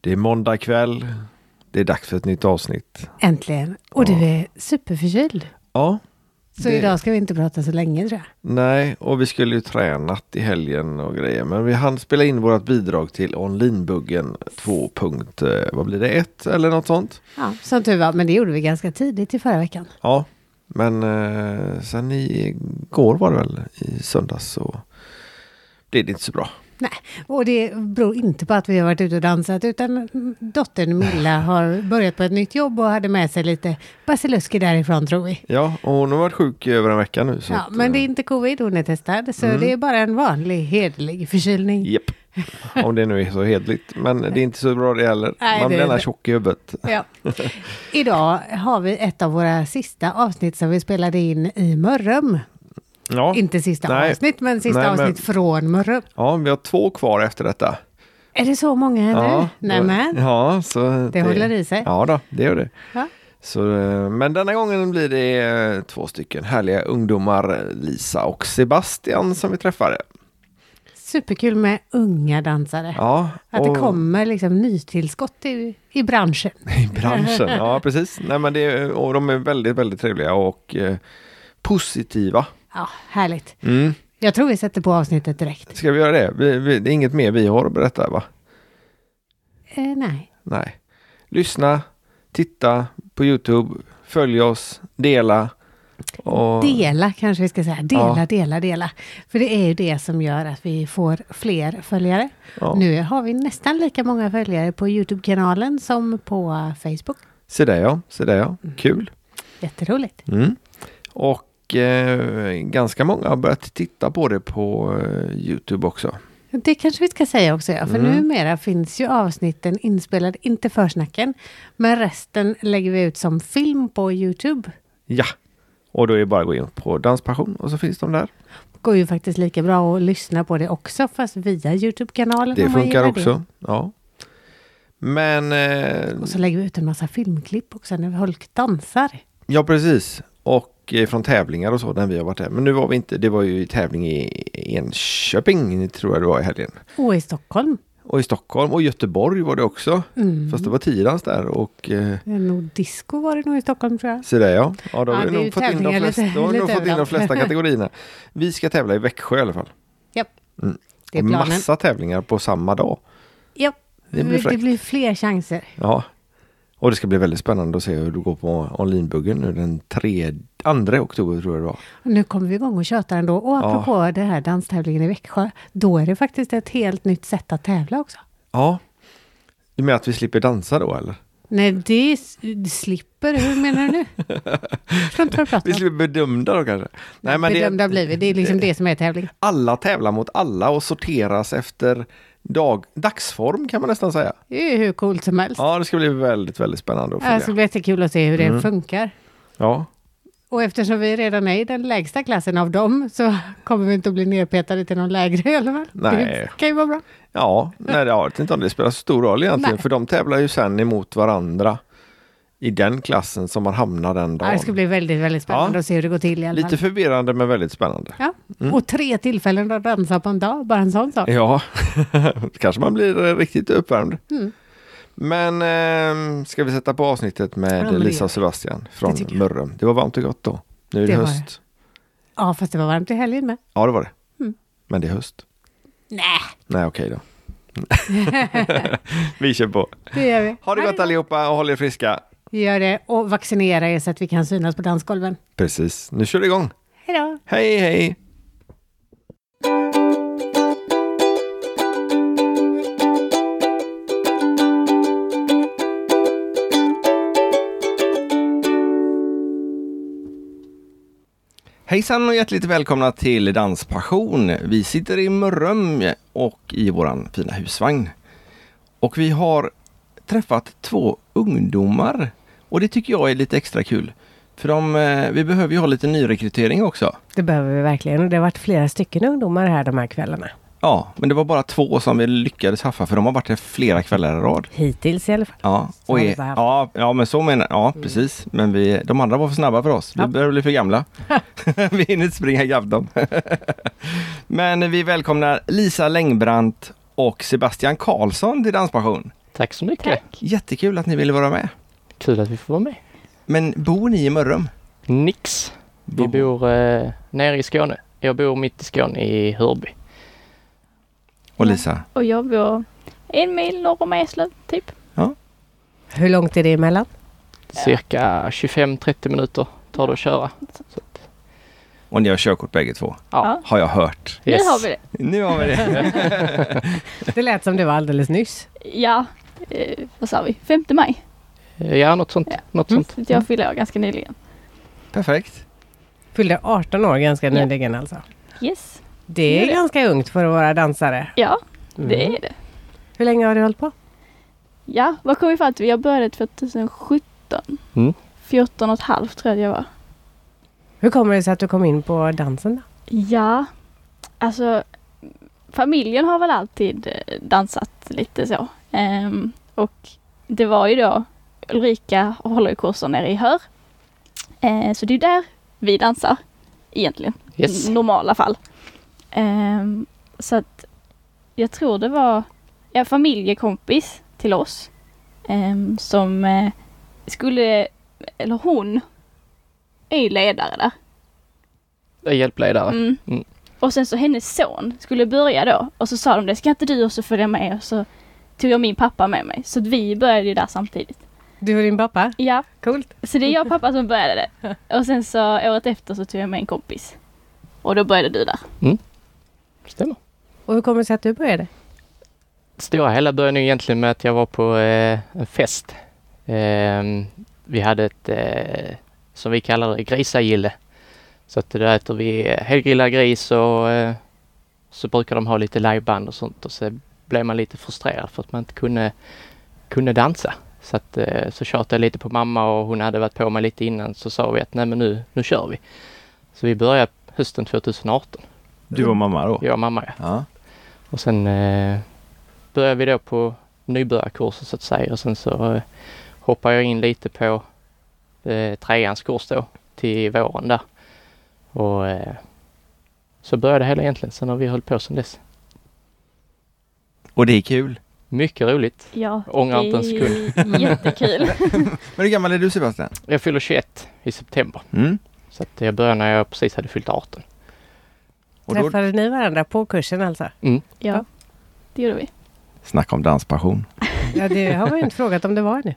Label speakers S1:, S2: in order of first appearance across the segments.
S1: Det är måndag kväll. Det är dags för ett nytt avsnitt.
S2: Äntligen. Och du är superförkyld.
S1: Ja,
S2: Så
S1: Det-
S2: idag ska vi inte prata så länge tror jag.
S1: nej, och vi skulle ju tränat i helgen och grejer. Men vi hann spela in vårt bidrag till onlinebuggen 2. punkt, eh, Vad blir det? 1 eller något sånt?
S2: Ja, som tur var, men det gjorde vi ganska tidigt i förra veckan.
S1: Ja, men eh, sen igår var det väl i söndags så blev det inte så bra.
S2: Nej, och det beror inte på att vi har varit ute och dansat, utan dottern Milla har börjat på ett nytt jobb och hade med sig lite basilusker därifrån tror vi.
S1: Ja, och hon har varit sjuk i över en vecka nu. Så
S2: Ja,
S1: att,
S2: men det är
S1: eh, Mm.
S2: inte covid, hon är testad, så det är bara en vanlig hederlig förkylning.
S1: eh, Japp, om det nu är så hedligt. Men det är inte så bra det heller.
S2: Nej,
S1: Man
S2: det
S1: blir
S2: är
S1: gärna
S2: det.
S1: tjock i huvudet.
S2: Ja. Idag har vi ett av våra sista avsnitt som vi spelade in i Mörrum.
S1: Ja.
S2: Inte sista
S1: Nej.
S2: avsnitt, men sista
S1: Nej, men-
S2: avsnitt från Mörrum.
S1: Ja, vi har två kvar efter detta.
S2: Är det så många nu?
S1: Ja,
S2: Nej
S1: det-
S2: men.
S1: Ja, så det,
S2: håller i sig.
S1: Ja, då, det gör det.
S2: Ja.
S1: Så, eh, men denna gången blir det eh, två stycken härliga ungdomar, Lisa och Sebastian, som vi träffade.
S2: Superkul med unga dansare.
S1: Ja,
S2: Att det
S1: och-
S2: kommer liksom nytillskott i, i branschen.
S1: I branschen, ja precis. Nej, men det, är- och de är väldigt, väldigt trevliga och eh, positiva.
S2: Ja, härligt.
S1: Mm.
S2: Jag tror vi sätter på avsnittet direkt.
S1: Ska vi göra det? Vi, vi, det är inget mer vi har att berätta, va?
S2: Eh, nej.
S1: Nej. Lyssna, titta på YouTube, följ oss, dela. Och...
S2: Dela kanske vi ska säga. Dela,
S1: Ja.
S2: dela, dela. För det är ju det som gör att vi får fler följare.
S1: Ja.
S2: Nu har vi nästan lika många följare på YouTube-kanalen som på Facebook.
S1: Se där ja, se där ja.
S2: Mm.
S1: Kul.
S2: Jätteroligt.
S1: Mm. Och eh, ganska många har börjat titta på det på eh, Youtube också.
S2: Det kanske vi ska säga också, ja.
S1: Mm.
S2: för numera finns ju avsnitten inspelade, inte försnacken, men resten lägger vi ut som film på Youtube.
S1: Ja, och då är det bara att gå in på Danspassion och så finns de där.
S2: Går ju faktiskt lika bra att lyssna på det också, fast via Youtube-kanalen.
S1: Det
S2: om man
S1: funkar
S2: gillar
S1: också. Ja. Men eh,
S2: Och så lägger vi ut en massa filmklipp också när folk dansar.
S1: ja, precis. Och eh, från tävlingar och så när vi har varit där. Men nu var vi inte, det var ju tävling i Enköping tror jag det var i helgen.
S2: Och i Stockholm,
S1: Och i Stockholm och Göteborg var det också.
S2: Mm.
S1: Fast det var tidans där och eh,
S2: nog disco var det nog i Stockholm tror jag.
S1: Så där ja. Ja, då har vi
S2: Ja, det är
S1: nog
S2: ju
S1: fått in de
S2: tävlingar
S1: flesta,
S2: lite-
S1: då har vi nog
S2: lite
S1: fått in de
S2: överallt.
S1: flesta kategorierna. Vi ska tävla i Växjö i alla fall.
S2: Japp,
S1: Mm.
S2: det är
S1: Och
S2: planen.
S1: Massa tävlingar på samma dag.
S2: Japp.
S1: Det blir
S2: det
S1: fräckt.
S2: blir fler chanser.
S1: Ja. Och det ska bli väldigt spännande att se hur du går på onlinebuggen nu den 3, 2 oktober tror jag det var.
S2: Nu kommer vi igång och tjötar ändå. Och
S1: Ja.
S2: apropå det här danstävlingen i Växjö, då är det faktiskt ett helt nytt sätt att tävla också.
S1: Ja. Du menar att vi slipper dansa då eller?
S2: Nej, det s- slipper, hur menar du nu? Jag förstår inte vad du
S1: Vi
S2: pratar om.
S1: slipper bedömda då kanske? Nej, men
S2: Bedömda
S1: det,
S2: blir vi, det är liksom det som är tävling.
S1: alla tävlar mot alla och sorteras efter dag, dagsform kan man nästan säga.
S2: Det är ju hur coolt som helst.
S1: Ja, Mm. det ska bli väldigt, väldigt spännande att
S2: det ska
S1: följa.
S2: bli jättekul att se hur det funkar.
S1: Ja.
S2: Och eftersom vi redan är i den lägsta klassen av dem så kommer vi inte att bli nerpetade till någon lägre i alla fall.
S1: Nej.
S2: Det kan ju vara bra.
S1: Ja, nej, jag vet inte om det spelar så stor roll egentligen,
S2: Nej.
S1: för de tävlar ju sen emot varandra i den klassen som man hamnar den
S2: Ja, det
S1: dagen.
S2: ska bli väldigt, väldigt spännande
S1: Ja.
S2: att se hur det går till i alla fall.
S1: Lite Mm. förvirrande men väldigt spännande.
S2: Ja. Och tre tillfällen att dansa på en dag, bara en sån sak.
S1: Ja, kanske man blir eh, riktigt uppvärmd.
S2: Mm.
S1: Men ehm, ska vi sätta på avsnittet med
S2: Ja, men det gör
S1: Lisa och
S2: vi.
S1: Sebastian
S2: Det
S1: från
S2: tycker jag.
S1: Mörrum. Det var varmt och gott då. Nu är det,
S2: Det var det. Mm.
S1: höst.
S2: Ja, fast det var varmt i helgen med.
S1: Ja, det var det. Men det är höst.
S2: Nej,
S1: Nej, okej då. vi kör på.
S2: det gör vi.
S1: Ha det gott allihopa och håll er friska.
S2: Gör det och vaccinera er så att vi kan synas på dansgolven.
S1: Precis, nu kör det igång.
S2: Hej då!
S1: Hej, hej!
S3: Hejsan och hjärtligt välkomna till Danspassion. Vi sitter i Mörrum och i våran fina husvagn. Och vi har träffat två ungdomar och det tycker jag är lite extra kul. För de, eh, vi behöver ju ha lite nyrekrytering också.
S4: Det behöver vi verkligen och det har varit flera stycken ungdomar här de här kvällarna.
S3: Ja, men det var bara två som vi lyckades haffa för de har varit här flera kvällar i rad.
S4: Hittills i alla fall.
S3: Ja, och
S4: har
S3: är,
S4: vi bara haft.
S3: ja, ja, men så menar Ja, precis. Men vi, de andra var för snabba för oss. Vi börjar bli för gamla. vi hinner inte springa ikapp dem. men vi välkomnar Lisa Längbrant och Sebastian Karlsson till Danspassion. Tack så mycket.
S5: Tack.
S1: Jättekul att ni ville vara med.
S3: Kul att vi får vara med.
S1: Men bor ni i Mörrum?
S3: Nix. Vi
S1: Bo-
S3: bor eh, nere i Skåne. Jag bor mitt i Skåne i Hörby.
S1: Och Lisa?
S5: Och jag bor en mil norr om Eslöv, typ.
S2: Hur långt är det emellan?
S3: Cirka 25-30 minuter tar det att köra.
S1: Och ni har körkort bägge två?
S3: Ja.
S1: Har jag hört.
S5: Nu har vi det.
S1: Nu har vi det.
S2: Det lät som det var alldeles nyss.
S5: Ja, eh, vad sa vi? 5 maj.
S3: det. Ja, något sånt.
S5: Ja.
S3: Något sånt.
S5: Så att jag fyllde år ganska nyligen.
S1: Perfekt.
S2: Fyllde 18 år ganska
S5: Ja.
S2: nyligen alltså.
S5: Yes.
S2: Det är
S5: Det är det.
S2: ganska ungt för att vara dansare.
S5: Ja,
S2: Mm.
S5: det är det.
S2: Hur länge har du hållit på?
S5: Ja, vad kom vi fram till? Jag började 2017.
S3: Mm.
S5: 14 och ett halvt tror jag jag var.
S2: Hur kommer det sig att du kom in på dansen då?
S5: Ja, alltså familjen har väl alltid eh, dansat lite så. Ehm, och det var ju då Ulrika håller ju kurser nere i Hör. Eh, så det är där vi dansar egentligen,
S3: Yes.
S5: i normala fall. Ehm, så att jag tror det var en familjekompis till oss ehm, som eh, skulle, eller hon är ju ledare där.
S3: Jag är hjälpledare.
S5: Mm.
S3: Mm.
S5: Och sen så hennes son skulle börja då och så sa de det, ska inte du också följa med? Och så tog jag min pappa med mig. Så att vi började ju där samtidigt.
S2: Du och din pappa?
S5: Ja,
S2: Coolt.
S5: så det är jag och pappa som började det. Och sen så året efter så tog jag med en kompis. Och då började du där.
S3: Stämmer.
S2: Och hur kommer det sig att du började?
S3: stora hela började nu egentligen med att jag var på eh, en fest. Ehm, vi hade ett, eh, som vi kallar det, grisagille. Så att då äter vi eh, helgrillad gris och eh, så brukar de ha lite liveband och sånt och så blev man lite frustrerad för att man inte kunde, kunde dansa. Så att eh, så tjatade jag lite på mamma och hon hade varit på mig lite innan så sa vi att nej men nu, nu kör vi. Så vi började hösten 2018,
S1: Du och mamma då?
S3: jag och mamma ja.
S1: Ja.
S3: Och sen eh, började vi då på nybörjarkursen så att säga och sen så eh, hoppade jag in lite på eh, treans kurs då till våren där. Och eh, så började det hela egentligen. Sen har vi hållit på sedan dess.
S1: Och det är kul.
S3: Mycket roligt.
S5: Ja,
S3: Ångrar inte en
S5: det
S3: sekund.
S5: är Jättekul.
S1: Men hur gammal är du Sebastian?
S3: Jag fyller 21 i september
S1: Mm.
S3: så att jag började när jag precis hade fyllt 18.
S1: Och då,
S2: Träffade ni varandra på kursen alltså?
S5: Ja, det gjorde vi.
S1: snacka om danspassion.
S2: Ja, det har man ju inte frågat om det var nu.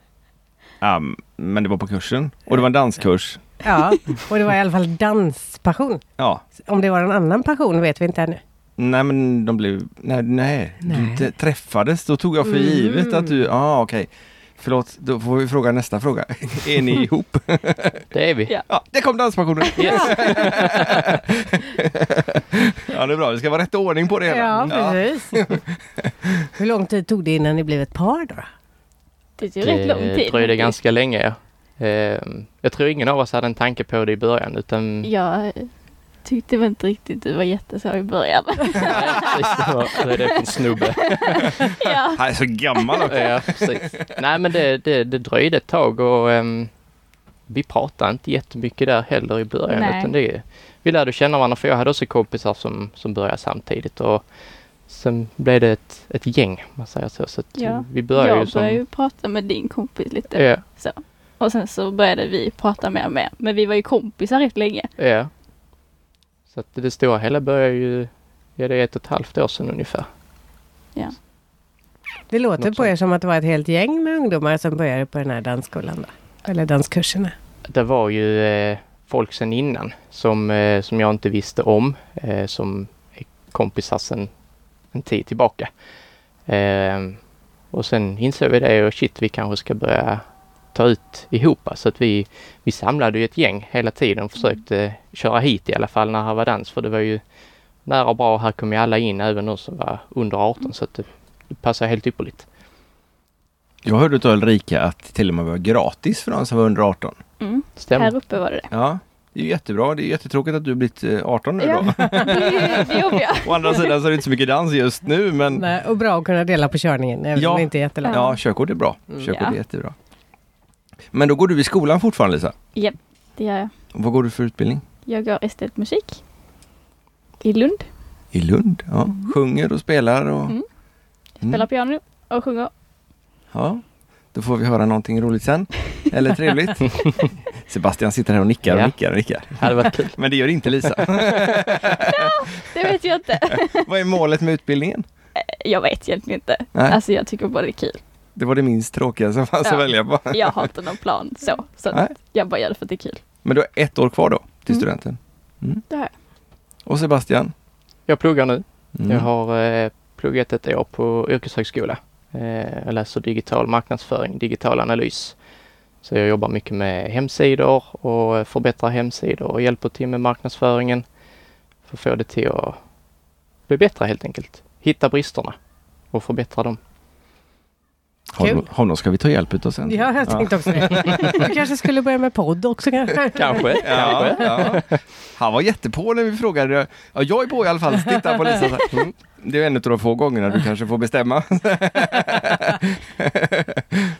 S1: Ja, men det var på kursen. Och det var en danskurs.
S2: Ja, och det var i alla fall danspassion.
S1: Ja.
S2: Om det var en annan passion vet vi inte ännu.
S1: Nej men de blev... Nej, nej.
S2: Nej. Mm.
S1: du t- träffades. Då tog jag för givet att du... Ja, ah, okej. Förlåt, då får vi fråga nästa fråga. är ni ihop?
S3: Det är vi.
S5: Ja.
S1: Ja, det kom danspassionen!
S3: Yes.
S1: Ja, det är bra. Det ska vara rätt ordning på det hela.
S2: Ja, precis. Hur lång tid tog det innan ni blev ett par då?
S5: Det tog rätt lång tid.
S3: Eh, dröjde ganska länge. Ja. Ehm, jag tror ingen av oss hade en tanke på det i början utan
S5: Jag eh, tyckte väl inte riktigt du var jätteså i början.
S3: Nej, precis, det var- vad är det för en snubbe?
S5: ja.
S1: Han är så gammal också.
S3: ja, precis. Nej men det, det, det dröjde ett tag och ehm, vi pratade inte jättemycket där heller i början.
S5: Nej.
S3: Utan det, vi lärde känna varandra för jag hade också kompisar som, som började samtidigt och sen blev det ett, ett gäng om man säger så. så att
S5: Ja.
S3: Vi började ju
S5: Jag
S3: som...
S5: började ju prata med din kompis lite.
S3: Ja,
S5: Och sen så började vi prata mer och mer. Men vi var ju kompisar rätt länge.
S3: ja. Så att det stora hela började ju, ja det är ett och ett halvt år sedan ungefär.
S2: Det låter
S3: Något
S2: på er som att det var ett helt gäng med ungdomar som började på den här dansskolan då. Eller danskurserna.
S3: Det var ju eh, folk sen innan som, eh, som jag inte visste om, eh, som är kompisar sen en tid tillbaka. Eh, och sen insåg vi det och shit, vi kanske ska börja ta ut ihop. Så att vi, vi samlade ju ett gäng hela tiden och försökte köra hit i alla fall när här var dans. För det var ju nära och bra. Här kom ju alla in, även de som var under 18. Så att det, det passade helt ypperligt.
S1: Jag hörde av Ulrika att det till och med var gratis för de som var under 18.
S5: Mm.
S3: Stämmer.
S5: Här uppe var det det.
S1: Ja, det är ju jättebra. Det är jättetråkigt att du har blivit eh, 18 nu då.
S5: Ja, det är det jobbiga.
S1: Å andra sidan så är det inte så mycket dans just nu men
S2: Nej, och bra att kunna dela på körningen, även
S1: Mm. Ja.
S2: om det inte är jättelångt.
S1: ja, körkort är bra.
S3: Mm.
S1: Körkort
S5: Ja.
S1: är jättebra. Men då går du i skolan fortfarande Lisa?
S5: Det gör jag.
S1: Vad går du för utbildning?
S5: Jag går estetmusik. I Lund.
S1: I Lund? Ja. Sjunger och spelar och...
S5: Mm.
S1: Mm.
S5: Spelar piano och sjunger.
S1: Ja, då får vi höra någonting roligt sen. Eller trevligt. Sebastian sitter här och nickar och
S3: Ja.
S1: nickar och nickar.
S3: Det hade varit kul.
S1: Men det gör inte Lisa.
S5: Det vet jag inte.
S1: Vad är målet med utbildningen?
S5: Jag vet egentligen inte.
S1: Nej.
S5: Alltså jag tycker bara det är kul.
S1: Det var det minst tråkiga som fanns
S5: Ja.
S1: att välja på.
S5: Jag har inte någon plan så. så att
S1: Nej.
S5: jag bara gör det för att det är kul.
S1: Men du har ett år kvar då till
S5: Mm.
S1: studenten. Mm.
S5: Det har jag.
S1: Och Sebastian?
S3: Jag pluggar nu.
S1: Mm.
S3: Jag har eh, pluggat ett år på yrkeshögskola. Eh, jag läser digital marknadsföring, digital analys. Så jag jobbar mycket med hemsidor och förbättrar hemsidor och hjälper till med marknadsföringen för att få det till att bli bättre helt enkelt. Hitta bristerna och förbättra dem.
S1: Honom, honom ska vi ta hjälp utav sen.
S2: Ja, jag tänkte också det. Du kanske skulle börja med podd också kanske?
S3: Kanske,
S1: Ja,
S3: kanske.
S1: ja. Han var jättepå när vi frågade. Ja, jag är på i alla fall. Titta på Lisa. så här, Mm. Det är en av de få gångerna du kanske får bestämma.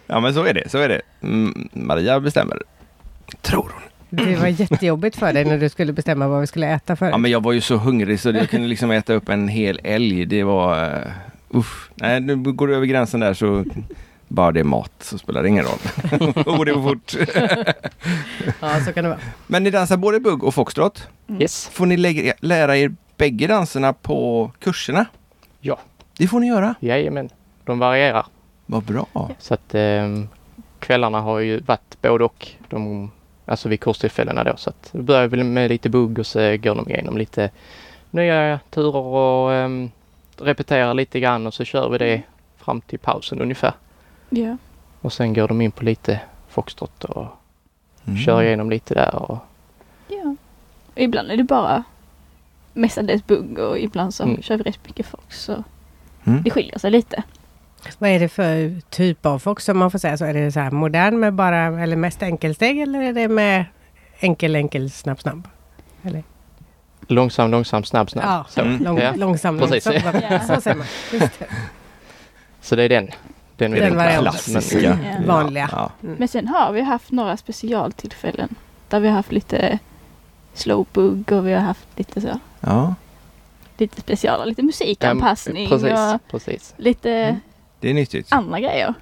S1: ja, men så är det. Så är det. Mm, Maria bestämmer. Tror hon.
S2: Det var jättejobbigt för dig när du skulle bestämma vad vi skulle äta för.
S1: Ja, men jag var ju så hungrig så jag kunde liksom äta upp en hel älg. Det var... eh, uff. Nej, nu går du över gränsen där så... Bara det är mat så spelar det ingen roll. Och det går fort.
S2: Ja, så kan det vara.
S1: Men ni dansar både bugg och foxtrot.
S3: Yes.
S1: Får ni lägga, lära er bägge danserna på kurserna?
S3: Ja.
S1: Det får ni göra.
S3: Jajamän, de varierar.
S1: Vad bra.
S3: Så att ehm, kvällarna har ju varit både och. De, alltså vid kurstillfällena då. Så att det börjar väl med lite bugg och så går de igenom lite nya turer och ehm, repeterar lite grann och så kör vi det fram till pausen ungefär.
S5: Ja.
S3: Och sen går de in på lite foxtrot och
S1: Mm.
S3: kör igenom lite där. Och,
S5: ja. Och ibland är det bara mestadels bugg och ibland så
S3: Mm.
S5: kör vi rätt mycket fox. Så
S1: Mm.
S5: det skiljer sig lite.
S2: Vad är det för typ av fox som man får säga så? Är det så här modern med bara, eller mest enkelsteg eller är det med enkel, enkel, snabb, snabb? Eller?
S3: långsam, långsam, snabb, snabb.
S2: Ja,
S3: Så.
S1: Mm.
S2: Lång,
S3: Ja,
S2: Långsam,
S3: precis.
S2: långsam.
S5: Ja.
S2: Så säger man. Just det.
S3: så det är den. Den,
S2: Den
S3: klarar.
S2: varianten. eh,
S1: Klassiska.
S5: Ja.
S2: Vanliga.
S1: Ja.
S5: Men sen har vi haft några specialtillfällen där vi har haft lite slow bugg och vi har haft lite så
S1: ja.
S5: lite speciala, lite
S3: Men,
S5: musikanpassning
S3: precis, Mm.
S5: och
S3: precis.
S5: lite
S1: Det är nyttigt.
S5: andra grejer.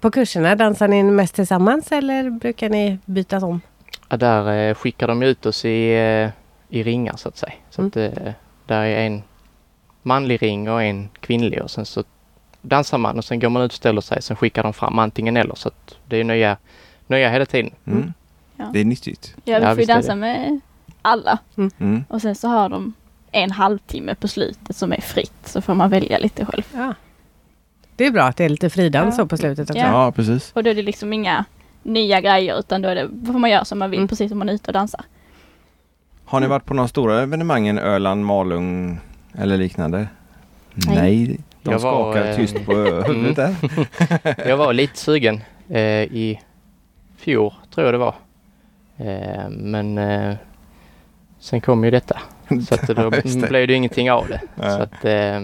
S2: På kurserna dansar ni mest tillsammans eller brukar ni bytas om?
S3: Ja, där eh, skickar de ju ut oss i, eh, i ringar så att säga. Så
S2: Mm.
S3: att, eh, där är en manlig ring och en kvinnlig och sen så dansar man och sen går man ut och ställer sig. Sen skickar de fram antingen eller så att det är nya, nya hela tiden.
S1: Mm.
S5: Ja.
S1: Det är nyttigt.
S5: Ja, vi
S3: Ja,
S5: får ju
S3: visst är
S5: dansa
S3: det.
S5: med alla
S1: Mm.
S5: och sen så har de en halvtimme på slutet som är fritt så får man välja lite själv.
S2: Ja. Det är bra att det är lite fridans
S5: Ja.
S2: så på slutet också.
S5: Ja.
S1: Ja, precis.
S5: Och då är det liksom inga nya grejer utan då är det, då får man göra som man vill
S2: Mm.
S5: precis som man är ute och dansar.
S1: Har ni varit på några stora evenemangen? Öland, Malung eller liknande?
S5: Nej.
S1: Nej. De
S3: Jag var,
S1: skakar
S3: eh,
S1: tyst på huvudet där.
S3: Jag var lite sugen eh, i fjol tror jag det var. Eh, men eh, sen kom ju detta så att då
S1: just det.
S3: blev det ju ingenting av det.
S1: Nej.
S3: Så att, eh,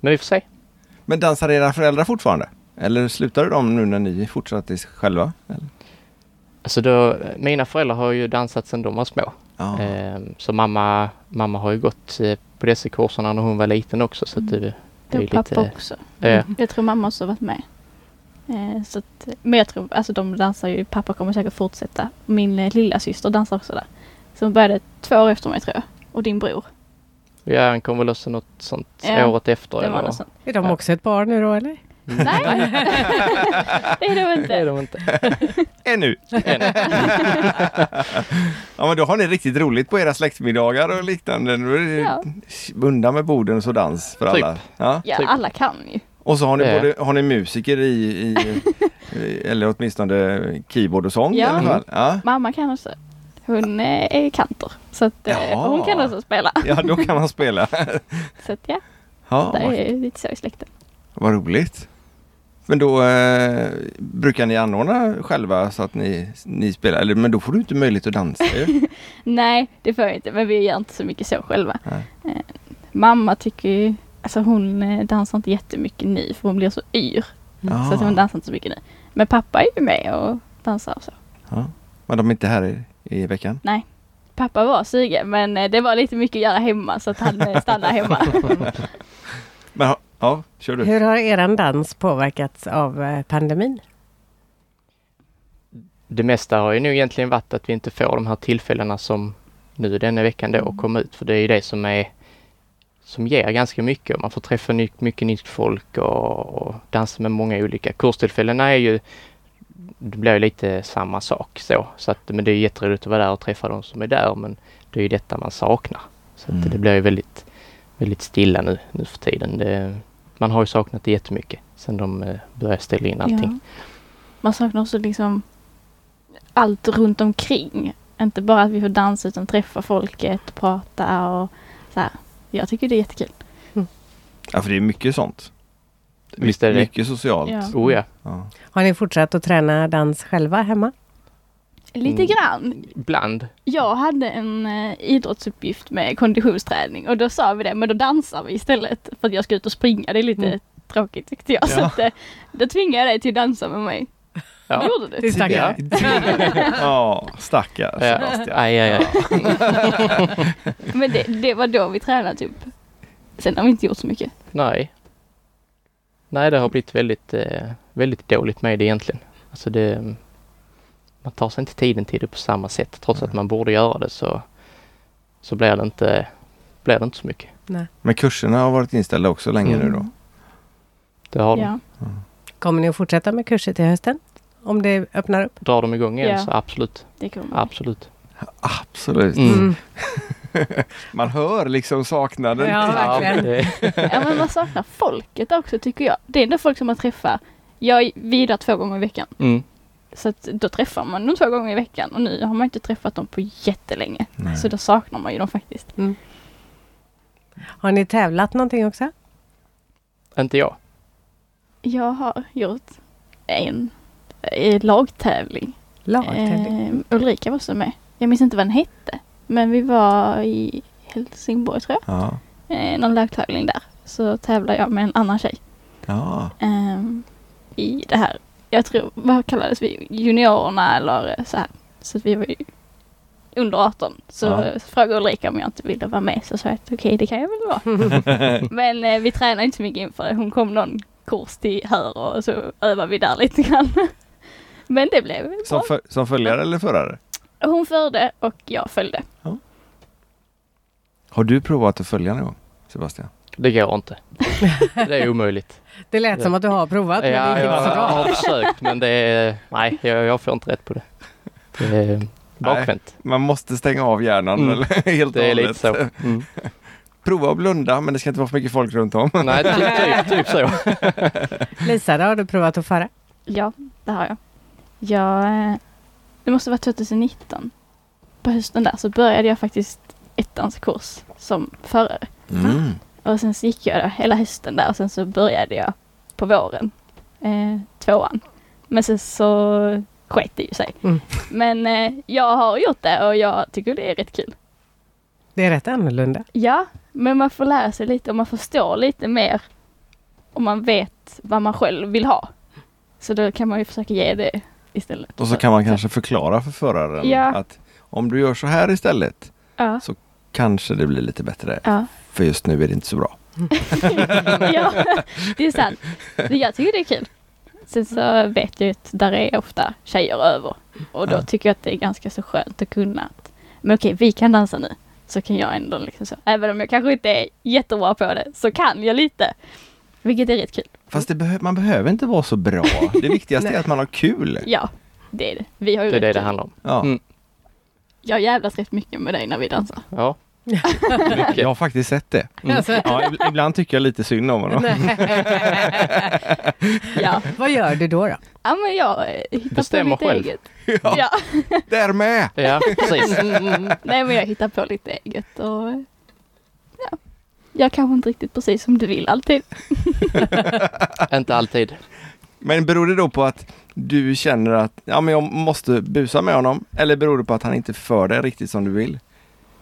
S3: men vi får se.
S1: Men dansar era föräldrar fortfarande? Eller slutade de nu när ni fortsatte själva? Eller?
S3: Alltså då, mina föräldrar har ju dansat sedan de var små.
S1: Ja.
S3: Ehm, Så mamma, mamma har ju gått eh, på dessa kurserna när hon var liten också. Så att det, det
S5: Det
S3: är
S5: var Mm. pappa
S3: lite...
S5: också. Mm.
S3: Ja,
S5: Jag tror mamma också har varit med. Eh, så att, men jag tror, alltså de dansar ju, pappa kommer säkert fortsätta. Min eh, lilla syster dansar också där. Så hon började två år efter mig tror jag. Och din bror.
S3: ja, han kom väl också något sånt
S5: Ja,
S3: året efter.
S5: Det var
S3: eller?
S5: något sånt.
S2: Är de
S3: Ja.
S2: också ett par nu då eller?
S5: Nej, det är det väl
S3: Mm. Det är de
S5: inte.
S3: inte.
S1: Ännu!
S3: Än.
S1: Ja men då har ni riktigt roligt på era släktmiddagar och liknande. Nu är det
S5: Ja.
S1: undan med borden och så dans för
S3: Typ.
S1: alla. Ja.
S5: Ja,
S3: Typ.
S5: alla kan ju.
S1: Och så har ni,
S5: Eh.
S3: Det är-
S1: både, har ni musiker i, i i- eller åtminstone keyboard och sång i
S5: Ja.
S1: alla fall. Ja.
S5: Mamma kan också. Hon eh, är kantor. Så att eh,
S1: Jaha.
S5: hon kan också spela.
S1: ja, då kan man spela.
S5: Så att ja,
S1: Ja,
S5: det är lite så i släkten.
S1: vad roligt. Men då eh, brukar ni anordna själva så att ni, ni spelar, eller men då får du inte möjlighet att dansa ju.
S5: Nej, det får jag inte. Men vi gör inte så mycket så själva.
S1: Nej.
S5: Eh, mamma tycker ju, alltså hon eh, dansar inte jättemycket nu för hon blir så yr.
S3: Mm.
S1: Ja.
S5: Så att
S3: Ah.
S5: hon dansar inte så mycket nu. Men pappa är ju med och dansar och så.
S1: Men de är inte här i, i veckan.
S5: Pappa var sugen men eh, det var lite mycket att göra hemma så att han eh, stannar hemma.
S1: Men har, Ja, kör du.
S2: Hur har eran dans påverkats av eh, pandemin?
S3: Det mesta har ju nog egentligen varit att vi inte får de här tillfällena som nu denna veckan då att komma ut för det är ju det som är som ger ganska mycket. Man får träffa ny, mycket nytt folk och, och dansa med många olika. Kurstillfällena är ju det blir ju lite samma sak så. så att, men det är ju jätteroligt att vara där och träffa de som är där men det är ju detta man saknar. Så att
S1: Mm.
S3: det blir ju väldigt, väldigt stilla nu, nu för tiden. Det, man har ju saknat det jättemycket sen de eh, började ställa in allting.
S5: Man saknar också liksom allt runt omkring. Inte bara att vi får dansa utan träffa folket, prata och så här. Jag tycker det är jättekul.
S1: Ja, för det är mycket sånt.
S3: Visst är det det.
S1: Mycket socialt.
S5: Ja.
S3: Oh ja,
S1: Ja.
S2: Har ni fortsatt att träna dans själva hemma?
S5: Lite
S3: Mm.
S5: grann.
S3: ibland.
S5: Jag hade en eh, idrottsuppgift med konditionsträning och då sa vi det, men då dansar vi istället för att jag ska ut och springa. Det är lite
S2: Mm.
S5: tråkigt tyckte jag. Så
S1: Ja.
S5: att, eh, då tvingade jag dig till att dansa med mig.
S3: Ja.
S5: Gjorde du?
S2: Det är stackare.
S1: ja, stackars
S3: Ja.
S1: Sebastian.
S3: Aj, aj, aj.
S5: Men det, det var då vi tränade typ. Sen har vi inte gjort så mycket.
S3: Nej. Nej, det har blivit väldigt, eh, väldigt dåligt med det egentligen. Alltså det, man tar sig inte tiden till det på samma sätt. Trots att man borde göra det så, så blir, det inte, blir det inte så mycket.
S1: Men kurserna har varit inställda också länge
S3: Mm.
S1: nu då?
S3: Det har de.
S5: Ja.
S2: Kommer ni att fortsätta med kurser till hösten? Om det öppnar upp?
S3: Drar de igång igen
S5: Ja.
S3: så absolut.
S5: Det kommer.
S3: Absolut.
S1: Absolut.
S3: Mm.
S1: Man hör liksom saknaden.
S2: Ja, verkligen.
S3: det,
S5: Ja men man saknar folket också tycker jag. Det är ändå folk som man träffar. Jag vidar två gånger i veckan.
S3: mm.
S5: Så att då träffar man dem två gånger i veckan och nu har man inte träffat dem på jättelänge.
S1: Nej.
S5: Så då saknar man ju dem faktiskt.
S2: Har ni tävlat någonting också?
S3: Inte jag.
S5: Jag har gjort en eh, lagtävling.
S2: Lagtävling?
S5: Eh, Ulrika var också med. Jag minns inte vad den hette. Men vi var i Helsingborg tror
S1: Ja.
S5: jag. Eh, någon lagtävling där. Så tävlade jag med en annan tjej.
S1: ja.
S5: ehm, i det här, jag tror, vad kallades vi, juniorerna eller så här. Så att vi var ju under 18. Så
S1: Ja.
S5: frågade Ulrika om jag inte ville vara med så sa jag att okej det kan jag väl vara. Men eh, vi tränade inte så mycket inför det. Hon kom någon kurs till här och så övade vi där lite grann. Men det blev
S1: Som,
S5: bra.
S1: för, som följare eller förare?
S5: Hon förde och jag följde.
S1: Har du provat att följa någon gång, Sebastian?
S3: Det går inte. Det är omöjligt.
S2: Det lät som att du har provat men det gick
S3: jag,
S2: inte så
S3: jag
S2: bra.
S3: har försökt men det är... Nej, jag, jag får inte rätt på det. Det är bakvänt.
S1: Man måste stänga av hjärnan
S3: Mm.
S1: eller helt och
S3: Det är lite
S1: hållet.
S3: så. Mm.
S1: Prova att blunda men det ska inte vara för mycket folk runt om.
S3: Nej, typ, typ, typ så.
S2: Lisa, då har du provat att föra?
S5: Ja, det har jag. Jag... eh, Det måste vara 2019. På hösten där så började jag faktiskt ettans kurs som förare.
S1: Mm.
S5: Och sen så gick jag där hela hösten där och sen så började jag på våren. Eh, tvåan. Men sen så sket det ju sig.
S2: Mm.
S5: Men eh, jag har gjort det och jag tycker det är rätt kul.
S2: Det är rätt annorlunda.
S5: Ja, men man får lära sig lite och man förstår lite mer. Och man vet vad man själv vill ha. Så då kan man ju försöka ge det istället.
S1: Och så kan man kanske förklara för föraren
S5: Ja.
S1: att om du gör så här istället
S5: Ja.
S1: kanske det blir lite bättre.
S5: Ja.
S1: För just nu är det inte så bra.
S5: ja, det är sant. Men jag tycker det är kul. Sen så vet jag ju att där är ofta tjejer över. Och då
S1: Ja.
S5: tycker jag att det är ganska så skönt att kunna att, men okej, vi kan dansa nu. Så kan jag ändå liksom så. Även om jag kanske inte är jättebra på det, så kan jag lite. Vilket är rätt kul.
S1: Fast det behö- man behöver inte vara så bra. Det viktigaste är att man har kul.
S5: Ja, det är det. Vi har ju
S3: Det är
S5: rätt
S3: det det
S5: kul.
S3: handlar om.
S1: Ja.
S3: Mm.
S5: Jag jävlas rätt mycket med dig alltså. när vi dansar.
S3: Ja.
S1: Jag har faktiskt sett det.
S3: Mm.
S2: Alltså,
S1: Ja, ib- ibland tycker jag lite synd om honom.
S5: Ja,
S2: vad gör du då? då?
S5: ja men jag eh, hittar
S3: Bestämmer
S5: på lite
S3: själv.
S5: eget.
S1: Ja.
S5: Ja.
S1: Där med!
S3: Ja, precis.
S5: Nej men jag hittar på lite eget och ja. Jag kanske inte riktigt precis som du vill alltid.
S3: Inte alltid.
S1: Men beror det då på att du känner att ja, men jag måste busa med honom? Eller beror det på att han inte för dig riktigt som du vill?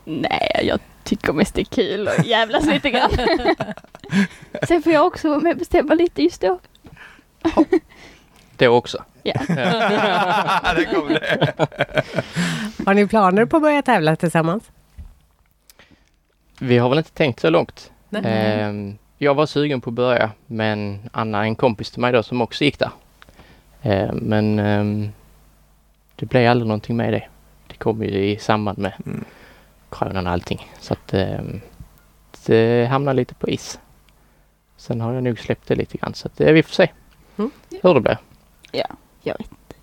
S5: Nej, jag tycker mest det är kul och jävlas lite grann. Sen får jag också vara med och bestämma lite just då.
S3: Det också.
S5: Ja.
S1: Där kom det.
S2: Har ni planer på att börja tävla tillsammans?
S3: Vi har väl inte tänkt så långt.
S2: Nej.
S3: Ehm, jag var sugen på att börja men Anna, en kompis till mig då som också gick där. Eh, men ehm, det blev aldrig någonting med det. Det kom ju i samband med
S1: Mm.
S3: coronan och allting. Så att ehm, det hamnade lite på is. Sen har jag nog släppt det lite grann så att, eh, vi får se
S2: Mm.
S3: hur det blir.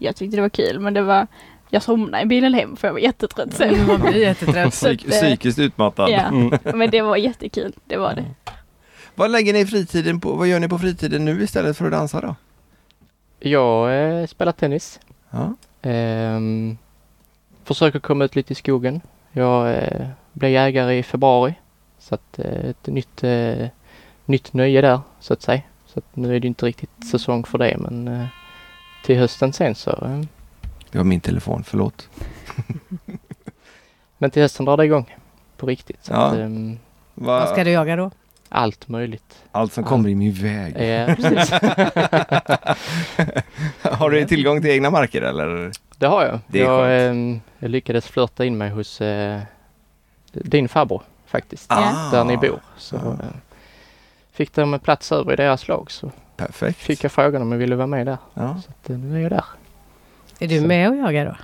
S5: Jag tyckte det var kul men det var jag somnade i bilen hem för jag var jättetrött sen.
S2: Nu var vi jättetrött.
S5: Så att,
S1: Psyk-
S5: eh,
S1: psykiskt utmattad.
S5: Ja,
S1: Mm.
S5: men det var jättekul. Det var det.
S1: Vad lägger ni fritiden på? Vad gör ni på fritiden nu istället för att dansa då?
S3: Jag eh, spelar tennis.
S1: Ja.
S3: Ehm, försöker komma ut lite i skogen. Jag eh, blev jägare i februari. Så att eh, ett nytt, eh, nytt nöje där så att säga. Så att nu är det inte riktigt säsong för det men eh, till hösten sen så. Eh,
S1: Det var min telefon, förlåt.
S3: men till hösten drar det igång på riktigt. Så
S1: Ja.
S3: att, ehm,
S1: Va?
S2: Vad ska du jaga då?
S3: allt möjligt.
S1: Allt som kommer i min väg.
S3: Eh, precis.
S1: Har du tillgång till egna marker eller?
S3: det har jag.
S1: Det är
S3: jag,
S1: skönt.
S3: ehm, jag lyckades flörta in mig hos eh, din farbror faktiskt.
S1: Ah,
S5: Ja.
S3: där ni bor. Så
S1: Ja.
S3: eh, fick de en plats över i deras lag så
S1: Perfekt.
S3: fick jag frågan om jag ville vara med där.
S1: Ja.
S3: Så att, eh, nu är jag där.
S2: Är du med och jagar då?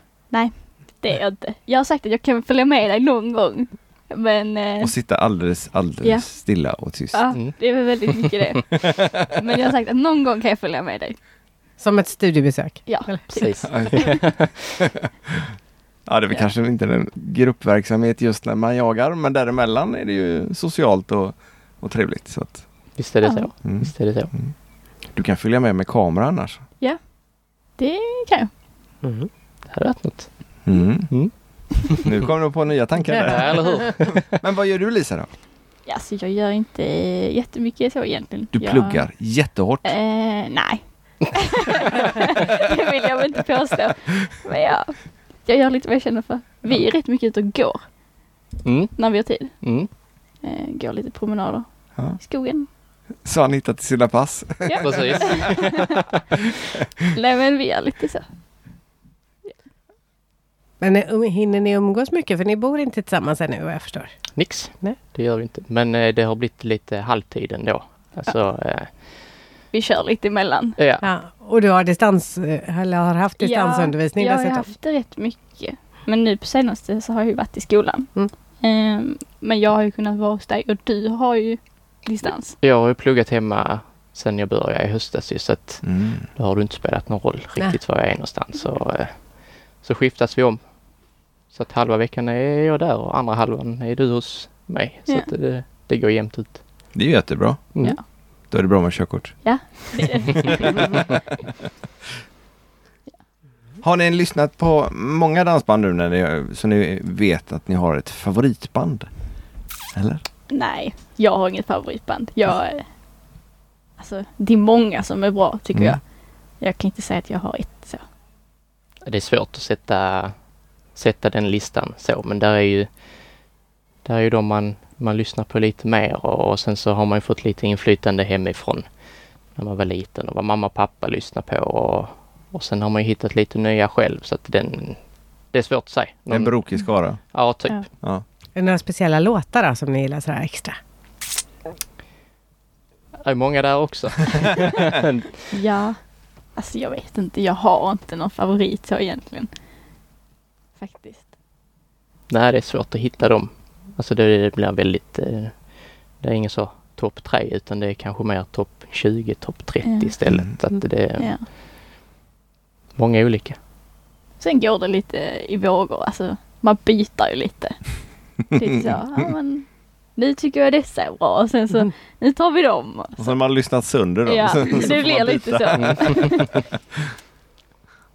S5: Det är jag inte. Jag har sagt att jag kan följa med dig någon gång. Men eh,
S1: Och sitta alldeles, alldeles
S5: Ja.
S1: stilla och tyst.
S5: ja,
S3: Mm.
S5: det är väl väldigt mycket det. Men jag har sagt att någon gång kan jag följa med dig.
S2: Som ett studiebesök?
S5: Ja,
S2: Eller?
S3: Precis.
S1: Ja, det är väl
S5: Ja.
S1: kanske inte en gruppverksamhet just när man jagar, men däremellan är det ju socialt och, och trevligt. Så att,
S3: Visst är det
S5: Ja.
S3: så.
S1: mm.
S3: Visst är det så.
S1: Du kan följa med med kamera annars.
S3: Det hade varit något.
S1: Mm.
S3: Mm.
S1: nu kommer du på nya tankar
S3: Ja,
S1: där.
S3: eller hur?
S1: Men vad gör du Lisa då?
S5: Ja, så jag gör inte jättemycket så egentligen.
S1: Du
S5: jag,
S1: pluggar jättehårt.
S5: Eh, nej. det vill jag väl inte påstå. Men jag, jag gör lite vad jag känner för. Vi är rätt mycket ute och går
S3: Mm.
S5: när vi har tid.
S3: Mm.
S5: Eh, går lite promenader
S1: Ja.
S5: i skogen.
S1: Så han hittat till sina pass.
S5: Ja.
S3: Precis.
S5: Nej men vi gör lite så.
S2: Men eh, um- hinner ni umgås mycket? För ni bor inte tillsammans ännu vad jag förstår.
S3: Nix.
S2: Nej.
S3: Det gör vi inte. Men eh, det har blivit lite halvtid ändå. Alltså, eh,
S5: Vi kör lite emellan.
S3: ja.
S2: Ja. Och du har, distans, eh, eller har haft distansundervisning
S5: ja, jag har ju
S2: dessutom?
S5: haft det rätt mycket. Men nu på senaste så har jag ju varit i skolan.
S2: Mm.
S5: Ehm, men jag har ju kunnat vara hos dig och du har ju distans.
S3: Jag har ju pluggat hemma sedan jag började i höstas ju, så att
S1: Mm.
S3: då har det inte spelat någon roll
S2: Nej.
S3: riktigt var jag är någonstans. Så, eh, så skiftas vi om. Så att halva veckan är jag där och andra halvan är du hos mig. Så
S5: Ja.
S3: att det, det går jämnt ut.
S1: Det är ju jättebra.
S3: Mm.
S5: Ja.
S1: Då är det bra med körkort. Har ni lyssnat på många dansband nu när ni, så ni vet att ni har ett favoritband? Eller?
S5: Nej, jag har inget favoritband. Jag, eh, alltså, det är många som är bra tycker
S1: Mm.
S5: jag. Jag kan inte säga att jag har ett så.
S3: Det är svårt att sätta, sätta den listan så men där är ju, där är ju de man, man lyssnar på lite mer och, och sen så har man ju fått lite inflytande hemifrån när man var liten och vad mamma och pappa lyssnade på och, och sen har man ju hittat lite nya själv så att den, det är svårt att säga. Någon-
S1: En brokig skara?
S3: Ja, typ.
S5: Ja.
S2: Är det några speciella låtar då, som ni gillar sådär extra?
S3: Det är många där också.
S5: Ja, alltså jag vet inte. Jag har inte någon favorit så egentligen. Faktiskt.
S3: Nej, det är svårt att hitta dem. Alltså det, det blir väldigt... eh, Det är ingen så topp 3 utan det är kanske mer topp 20, topp 30
S5: Ja. Mm.
S3: istället. Så att det är
S5: Ja.
S3: många olika.
S5: Sen går det lite i vågor, alltså man byter ju lite. Lite så, ja men nu tycker jag dessa är bra och sen så, nu tar vi dem.
S1: Och sen har man lyssnat sönder dem.
S5: Ja,
S1: Så- så får
S5: det
S1: man
S5: blir
S1: byta.
S5: lite så.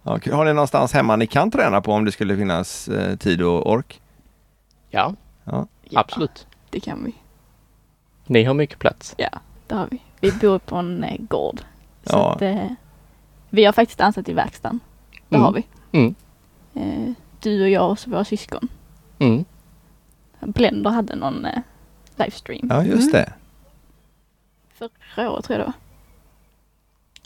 S1: Ja, kul. har ni någonstans hemma ni kan träna på om det skulle finnas eh, tid och ork?
S3: Ja,
S5: Ja,
S3: absolut.
S5: Det kan vi,
S3: Ni har mycket plats.
S5: det har vi. Vi bor på en eh, gård. Så
S1: Ja.
S5: att, eh, vi har faktiskt dansat i verkstaden. Det
S3: Mm.
S5: har vi.
S3: Mm.
S5: Eh, du och jag och så våra syskon.
S3: Mm.
S5: Blender hade någon eh, livestream
S1: Ja, just det.
S5: förra året tror jag det var.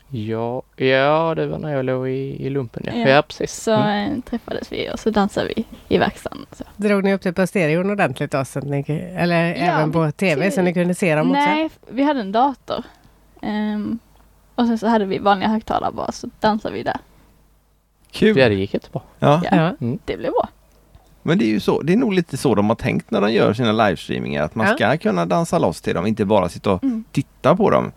S3: Ja, ja det var när jag låg i, i lumpen. Ja,
S5: Ja.
S3: ja. precis. Mm.
S5: Så eh, träffades vi och så dansade vi i verkstaden. Så.
S2: Drog ni upp det på stereon ordentligt då? Så att ni, eller även på tv så ni kunde se dem också?
S5: Nej, vi hade en dator. Ehm, och sen så hade vi vanliga högtalare bara så dansade vi där.
S1: Kul!
S3: Ja, det gick jättebra. Mm.
S1: Ja.
S5: Ja.
S2: Ja.
S5: Det blev bra.
S1: Men det är ju så, det är nog lite så de har tänkt när de gör sina livestreamingar, att man
S2: Ja.
S1: ska kunna dansa loss till dem, inte bara sitta och
S5: Mm.
S1: titta på dem.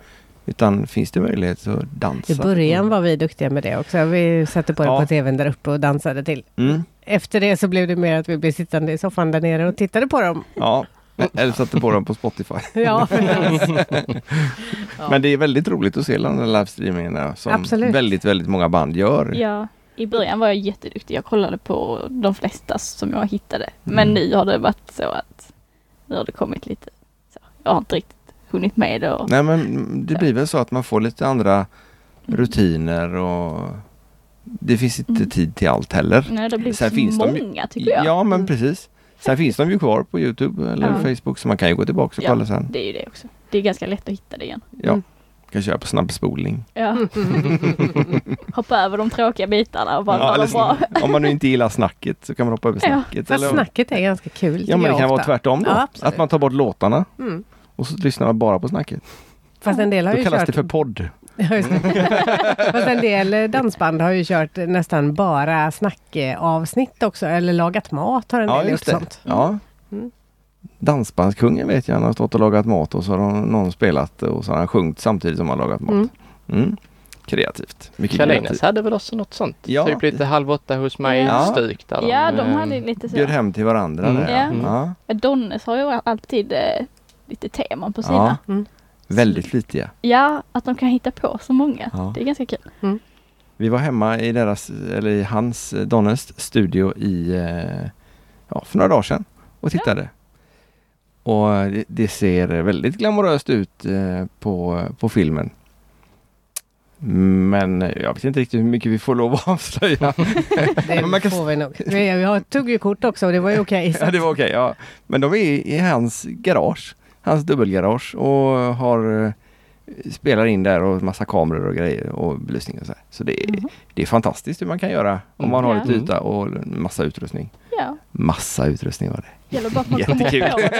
S1: Utan finns det möjlighet så dansa.
S2: I början var vi duktiga med det också. Vi satte på det
S1: Ja.
S2: på tvn där uppe och dansade till.
S1: Mm.
S2: Efter det så blev det mer att vi blev sittande i soffan där nere och tittade på dem.
S1: Ja, eller satte på dem på Spotify.
S2: Ja, precis.
S1: Men det är väldigt roligt att se alla de där livestreamingarna som
S2: Absolut.
S1: väldigt, väldigt många band gör.
S5: Ja, I början var jag jätteduktig. Jag kollade på de flesta som jag hittade. Men
S1: Mm.
S5: nu har det varit så att nu har det kommit lite. Så. Jag har inte riktigt hunnit med det. Och,
S1: Nej men det blir väl så att man får lite andra rutiner och det finns inte
S5: Mm.
S1: tid till allt heller.
S5: nej, det har blivit
S1: Sen
S5: så
S1: finns de ju-
S5: många tycker jag.
S1: Ja men
S5: Mm.
S1: precis. Sen finns de ju kvar på Youtube eller
S5: Ja.
S1: Facebook så man kan ju gå tillbaka och
S5: Ja.
S1: kolla sen.
S5: Det är ju det också. Det är ganska lätt att hitta det igen.
S1: Ja.
S2: Mm.
S1: Kan köra på snabbspolning.
S5: Ja. Hoppa över de tråkiga bitarna och bara
S1: Ja,
S5: ta
S1: eller
S5: de bra.
S1: sn- om man nu inte gillar snacket så kan man hoppa över
S5: Ja,
S1: snacket.
S2: Fast
S1: eller-
S2: snacket är ganska kul.
S1: ja men det
S2: tycker
S1: kan
S2: jag
S1: vara
S2: ofta.
S1: tvärtom då.
S2: Ja, absolut.
S1: att man tar bort låtarna
S2: Mm.
S1: och så lyssnar man bara på snacket.
S2: Fast en del har
S1: Då
S2: ju
S1: kallas
S2: kört...
S1: det för podd.
S2: Ja, just det. Fast en del eh, dansband har ju kört nästan bara snackavsnitt också, eller lagat mat har en del gjort sånt.
S1: Ja.
S2: Mm.
S1: Dansbandskungen vet jag, han har stått och lagat mat och så har någon- någon spelat och så har han sjungit samtidigt som han har lagat mat. Mm.
S2: Mm.
S1: Kreativt. Mycket
S3: Kalines
S1: kreativt.
S3: hade väl också något sånt?
S1: Ja.
S3: Typ lite halv åtta hos mig
S5: Ja.
S3: stuk där.
S5: Ja, de
S3: eh,
S5: hade lite så.
S1: Bjöd hem till varandra
S3: Mm.
S1: där. Ja.
S5: Ja.
S1: Ja.
S5: Donnes har ju alltid eh, lite teman på
S1: Ja.
S5: sina.
S2: Mm.
S1: Väldigt flitiga.
S5: Ja, att de kan hitta på så många.
S1: Ja.
S5: Det är ganska kul.
S1: Vi var hemma i deras, eller i hans, eh, Donners studio i, eh, ja, för några dagar sedan och tittade. Och eh, det, det ser väldigt glamoröst ut eh, på, på filmen. Men eh, jag vet inte riktigt hur mycket vi får lov att avslöja.
S2: Det
S1: Men man kan-
S2: får vi nog. Vi, vi har, tog ju kort också och det var ju okej. så-
S1: Ja, det var okej. ja. Men de är i hans garage, hans dubbelgarage och har eh, spelar in där och massa kameror och grejer och belysning och så här. Så det är, det är fantastiskt hur man kan göra om man har
S5: Ja.
S1: lite yta och en massa utrustning.
S5: Ja,
S1: Massa utrustning var det.
S5: det gäller bara att man kommer
S1: Jättekul.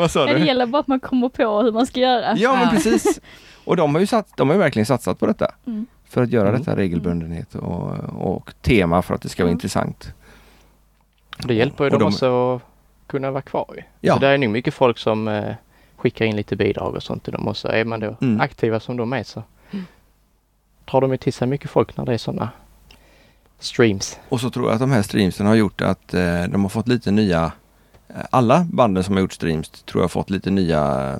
S1: Vad sa
S5: Nej, det gäller bara att man kommer på hur man ska göra.
S1: Ja, men precis. Och de har ju, sats, de har ju verkligen satsat på detta.
S5: Mm.
S1: För att göra
S3: Mm.
S1: detta regelbundenhet och, och tema för att det ska vara
S5: Mm.
S1: intressant.
S3: eh, Det hjälper ju
S1: Och
S3: dem
S1: de-
S3: också att kunna vara kvar ju.
S1: Ja.
S3: Så det är nog mycket folk som eh, skickar in lite bidrag och sånt till dem och så är man då
S1: Mm.
S3: aktiva som de är så tar de ju till sig mycket folk när det är sådana streams.
S1: Och så tror jag att de här streamsen har gjort att eh, de har fått lite nya, eh, alla banden som har gjort streams tror jag har fått lite nya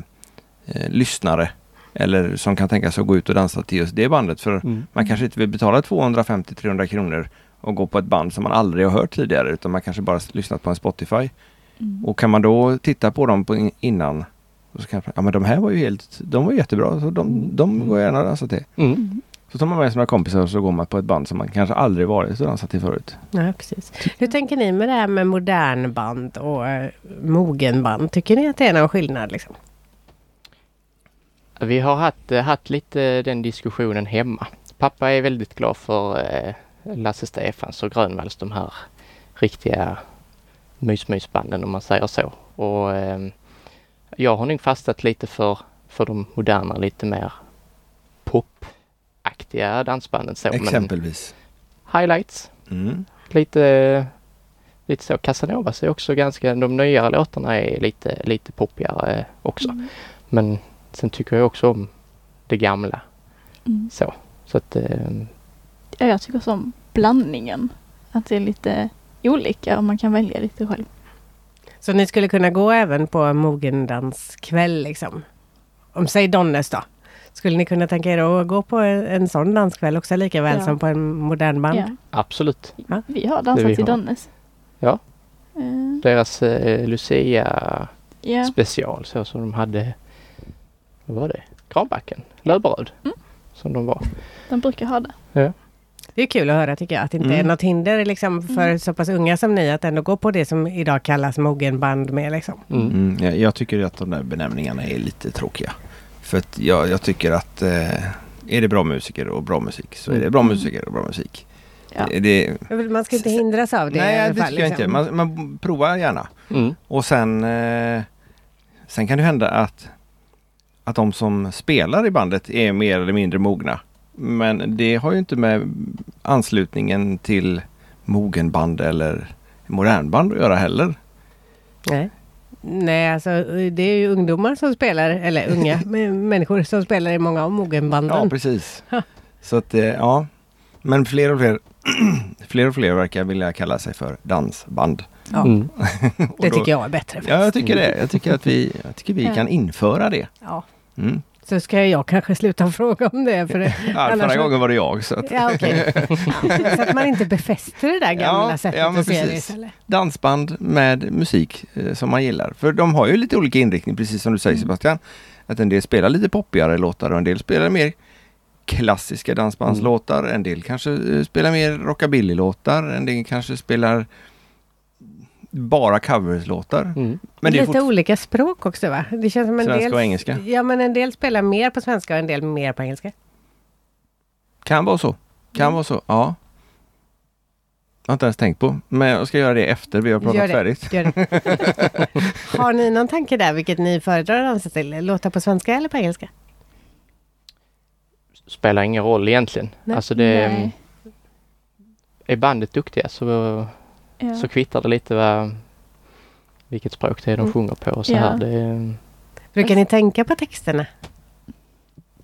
S1: eh, lyssnare. Eller som kan tänka sig att gå ut och dansa till just det bandet. För man kanske inte vill betala 250-300 kronor och gå på ett band som man aldrig har hört tidigare utan man kanske bara s- lyssnat på en Spotify.
S5: Mm.
S1: Och kan man då titta på dem på in- innan och så kanske, ja men de här var ju helt, de var ju jättebra så de, de går jag gärna och dansar till.
S3: Mm.
S5: Mm.
S1: Så tar man med sina kompisar och så går man på ett band som man kanske aldrig varit och dansat till förut.
S2: Nej, precis. Hur tänker ni med det här med modern band och eh, mogen band? Tycker ni att det är någon skillnad? Liksom?
S3: Vi har haft, eh, haft lite den diskussionen hemma. Pappa är väldigt glad för eh, Lasse Stefans och Grönvalls, de här riktiga mysmysbanden om man säger så. Och ehm, jag har nog fastnat lite för, för de moderna, lite mer popaktiga dansbanden. Så, men
S1: Exempelvis.
S3: highlights,
S1: Mm.
S3: lite, lite så. Casanovas är också ganska, de nyare låtarna är lite, lite poppigare också.
S5: Mm.
S3: Men sen tycker jag också om det gamla.
S5: Mm.
S3: Så, så att eh,
S5: Ja, jag tycker som blandningen. Att det är lite olika och man kan välja lite själv.
S2: Så ni skulle kunna gå även på en mogendanskväll? Liksom? Om säg Donnes då? Skulle ni kunna tänka er att gå på en, en sån danskväll också lika väl
S5: Ja.
S2: som på en modern band?
S5: Ja.
S3: absolut.
S5: Vi har
S3: Det vi
S5: dansat till
S3: har.
S5: Donnes.
S3: Ja.
S5: Eh,
S3: Deras eh, Lucia
S5: ja.
S3: special så som de hade, vad var det? Granbacken, Löberöd.
S5: Mm.
S3: Som de var.
S5: De brukar ha det.
S2: Det är kul att höra tycker jag, att det inte
S1: Mm.
S2: är något hinder liksom, för
S6: Mm.
S2: så pass unga som ni att ändå gå på det som idag kallas mogenband med. Liksom.
S3: Mm.
S1: Mm, jag, jag tycker att de där benämningarna är lite tråkiga. För att jag, jag tycker att eh, Är det bra musiker och bra musik så är det
S7: Mm.
S1: bra musiker och bra musik.
S5: Ja.
S1: Det, det,
S6: Man ska inte hindras av det i
S1: nej,
S6: alla
S1: det
S6: fall,
S1: tycker jag inte.
S6: liksom.
S1: Man, man provar gärna.
S3: Mm.
S1: Och sen, eh, sen kan det hända att, att de som spelar i bandet är mer eller mindre mogna. Men det har ju inte med anslutningen till mogenband eller modernband att göra heller.
S2: Nej. Nej, alltså det är ju ungdomar som spelar, eller unga m- människor som spelar i många av
S1: Ja,
S2: mogenbanden.
S1: precis. Så att, eh, ja. Men fler och fler, fler och fler verkar vilja kalla sig för dansband.
S2: Ja,
S3: Mm.
S2: det
S1: då-
S2: tycker jag är bättre.
S1: Ja,
S2: faktiskt.
S1: jag tycker det. Jag tycker att vi, jag tycker vi
S2: Ja.
S1: kan införa det.
S2: Ja.
S1: Mm.
S2: Så ska jag kanske sluta fråga om det. För det
S1: Ja, förra
S2: Annars-
S1: gången var det jag. Så att,
S2: ja, okej. ja, så att man inte befäster det där gamla
S1: Ja,
S2: sättet
S1: ja, men
S2: att se det
S1: precis.
S2: istället.
S1: dansband med musik eh, som man gillar. För de har ju lite olika inriktning, precis som du
S2: Mm.
S1: säger Sebastian. Att en del spelar lite poppigare låtar och en del spelar mer klassiska dansbandslåtar.
S2: Mm.
S1: En del kanske eh, spelar mer rockabilly-låtar. En del kanske spelar bara coverslåtar.
S3: Mm.
S1: Men det är
S2: Lite
S1: fortfarande...
S2: olika språk också va? Det känns som en
S1: Svenska
S2: del...
S1: och engelska.
S2: Ja, men en del spelar mer på svenska och en del mer på engelska.
S1: Kan vara så. Kan
S2: Mm.
S1: vara så, ja. Jag har inte ens tänkt på, men jag ska göra det efter vi har
S2: Gör
S1: pratat
S2: det.
S1: färdigt.
S2: Gör det. Har ni någon tanke där vilket ni föredrar att dansa till? Låta på svenska eller på engelska?
S3: Spelar ingen roll egentligen.
S2: Nej.
S3: Alltså det,
S5: Nej.
S3: är bandet duktiga så,
S5: Ja.
S3: mm, så kvittar det lite vad, vilket språk det är de sjunger på och så
S5: Mm. Ja.
S3: här. Det,
S2: Brukar ni tänka på texterna?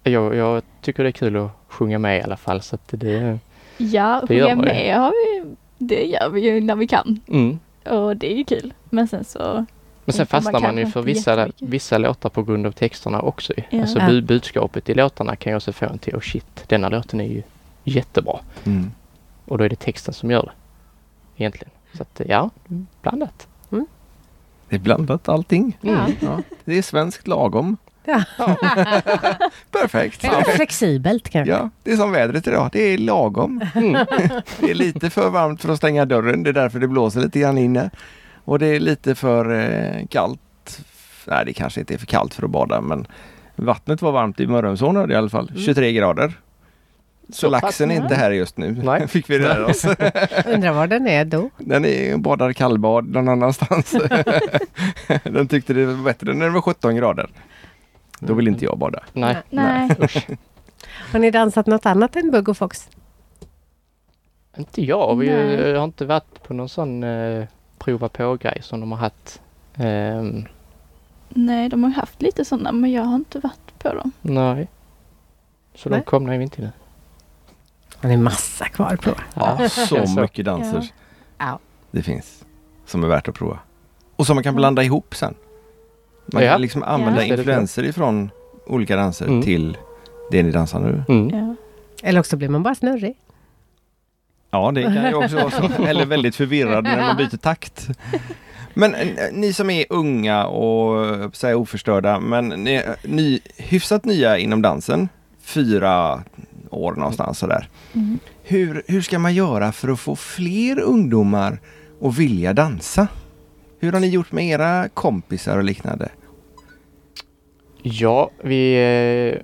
S3: jag, jag tycker det är kul att sjunga med i alla fall så att det...
S5: Ja,
S3: Det gör
S5: sjunga
S3: man ju.
S5: med har vi, det gör vi ju när vi kan.
S3: Mm.
S5: Och det är ju kul. Men sen så,
S3: Men sen
S5: Man kan
S3: fastnar man ju
S5: kanske
S3: för
S5: inte
S3: vissa,
S5: jättemycket.
S3: vissa låtar på grund av texterna också. ju.
S5: Ja.
S3: Alltså
S2: Ja.
S3: bu- budskapet i låtarna kan ju också få en till oh shit, denna låten är ju jättebra.
S1: Mm.
S3: Och då är det texten som gör det. Egentligen. Så att ja, blandat.
S1: Det är blandat allting. Mm.
S5: ja.
S1: Ja. Det är svenskt lagom.
S2: Ja.
S1: Perfekt!
S6: Eller flexibelt kanske.
S1: Ja, det är som vädret idag. Det är lagom.
S3: Mm.
S1: Det är lite för varmt för att stänga dörren. Det är därför det blåser lite grann inne. Och det är lite för eh, kallt. Nej, det kanske inte är för kallt för att bada, men vattnet var varmt i Mörrumsån hörde jag i alla fall. 23 grader. Så,
S3: Så pass,
S1: laxen är inte här just nu.
S3: Nej.
S1: Fick vi lära oss.
S2: Undrar var den är då?
S1: Den är badar kallbad någon annanstans. Den tyckte det var bättre när det var 17 grader. Då vill inte jag bada.
S3: Nej.
S5: Nej.
S3: Usch.
S2: Har ni dansat något annat än Bugg och Fox?
S3: Inte jag. Vi
S5: Nej.
S3: eh, har inte varit på någon sån eh, prova på-grej som de har haft. Ehm,
S5: Nej, de har ju haft lite sådana men jag har inte varit på dem.
S3: nej. Så
S2: Nej.
S3: de kom vi inte nu.
S2: Har ni massa kvar på?
S1: Ja, så
S3: Så.
S1: mycket danser
S2: Ja.
S1: det finns som är värt att prova. Och som man kan blanda ihop sen. Man
S3: Ja.
S1: kan liksom använda
S3: Ja.
S1: influenser ifrån olika danser
S3: Mm.
S1: till det ni dansar nu.
S3: Mm.
S5: Ja.
S2: Eller också blir man bara snurrig.
S1: Ja, det kan ju också vara så. Eller väldigt förvirrad när man byter takt. Men eh, ni som är unga och eh, så här, oförstörda, men ni är ny, hyfsat nya inom dansen, fyra år någonstans sådär.
S5: Mm.
S1: Hur, hur ska man göra för att få fler ungdomar att vilja dansa? Hur har ni gjort med era kompisar och liknande?
S3: Ja, vi... Eh,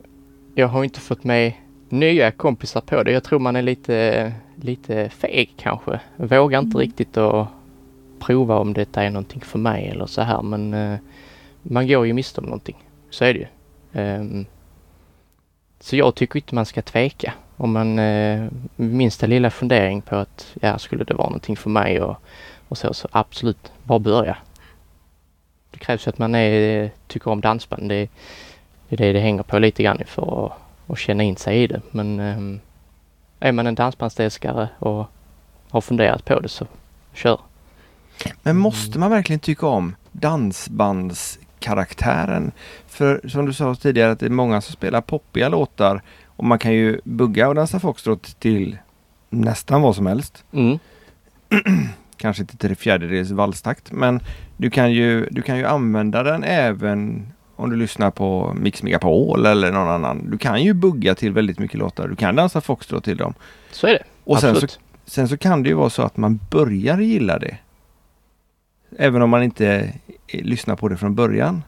S3: jag har inte fått med nya kompisar på det. Jag tror man är lite, lite feg kanske. Vågar inte riktigt att prova om detta är någonting för mig eller så här. Men eh, man går ju miste om någonting. Så är det ju. Ehm, så jag tycker inte man ska tveka. Om man eh, minsta lilla fundering på att ja, skulle det vara någonting för mig och, och så, så absolut, bara börja. Det krävs ju att man är, tycker om dansband. Det, det är det det hänger på lite grann för att, att känna in sig i det. Men ehm, är man en dansbandsälskare och har funderat på det så kör.
S1: Men måste man verkligen tycka om dansbandskaraktären? För som du sa tidigare att det är många som spelar poppiga låtar och man kan ju bugga och dansa foxtrot till nästan vad som helst.
S3: Mm.
S1: Kanske inte till fjärdedels valstakt men du kan, ju, du kan ju använda den även om du lyssnar på Mix Megapol eller någon annan. Du kan ju bugga till väldigt mycket låtar. Du kan dansa foxtrot till dem.
S3: Så är det.
S1: Och sen så
S3: absolut.
S1: Sen så kan det ju vara så att man börjar gilla det. Även om man inte eh, lyssnar på det från början.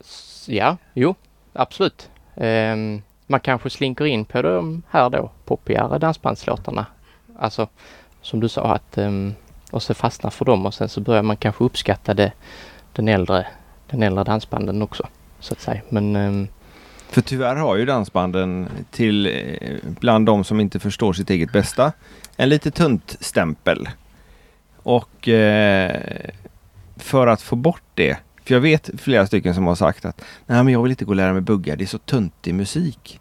S3: S- Ja, jo, absolut. Ehm, man kanske slinker in på de här då poppigare dansbandslåtarna. Alltså som du sa att ehm, och så fastnar för dem och sen så börjar man kanske uppskatta det, den, äldre, den äldre dansbanden också. Så att säga. Men ehm,
S1: För tyvärr har ju dansbanden till eh, bland de som inte förstår sitt eget bästa en lite tunt stämpel. Och eh, för att få bort det, för jag vet flera stycken som har sagt att nej men jag vill inte gå och lära mig bugga, det är så töntig musik.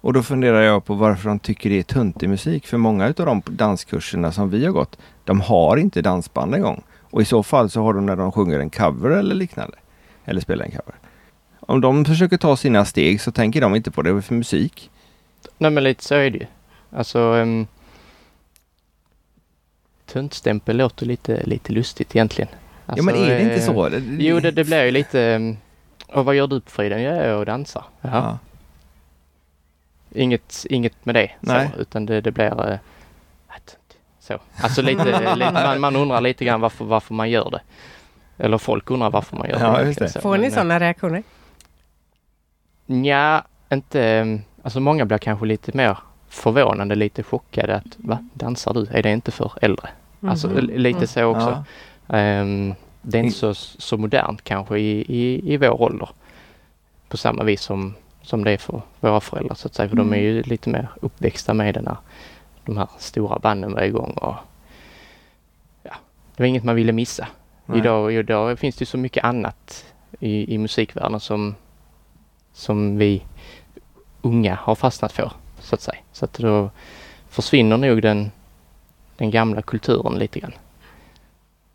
S1: Och då funderar jag på varför de tycker det är töntig musik, för många utav de danskurserna som vi har gått, de har inte dansband en gång. Och i så fall så har de när de sjunger en cover eller liknande, eller spelar en cover. Om de försöker ta sina steg så tänker de inte på det för musik.
S3: Nej men lite så är det ju. Alltså... Um, Töntstämpel låter lite, lite lustigt egentligen. Alltså,
S1: ja men är det inte
S3: eh,
S1: så?
S3: Jo det, det blir ju lite... ehm, Och vad gör du på friden? Jag är och dansar. Jaha.
S1: Ja.
S3: Inget, inget med det.
S1: Nej.
S3: Så, utan det, det blir... eh, att- Så. Alltså lite, lite man, man undrar lite grann varför, varför man gör det. Eller folk undrar varför man gör
S1: Ja,
S3: det.
S1: just det.
S3: Så,
S2: Får ni
S3: men, eh,
S2: sådana reaktioner?
S3: Nja, inte... ehm, Alltså många blir kanske lite mer förvånade, lite chockade att va, dansar du? Är det inte för äldre? Alltså
S2: Mhm.
S3: li- lite så också.
S1: Mm. Ja.
S3: Ehm, det är inte så, så modernt kanske i, i, i vår ålder. På samma vis som, som det är för våra föräldrar så att säga. För de är ju lite mer uppväxta med den här, de här stora banden var igång. Och, ja, det var inget man ville missa.
S1: Nej.
S3: Idag, idag finns det ju så mycket annat i, i musikvärlden som, som vi unga har fastnat för. Så att säga. Så att då försvinner nog den, den gamla kulturen lite grann.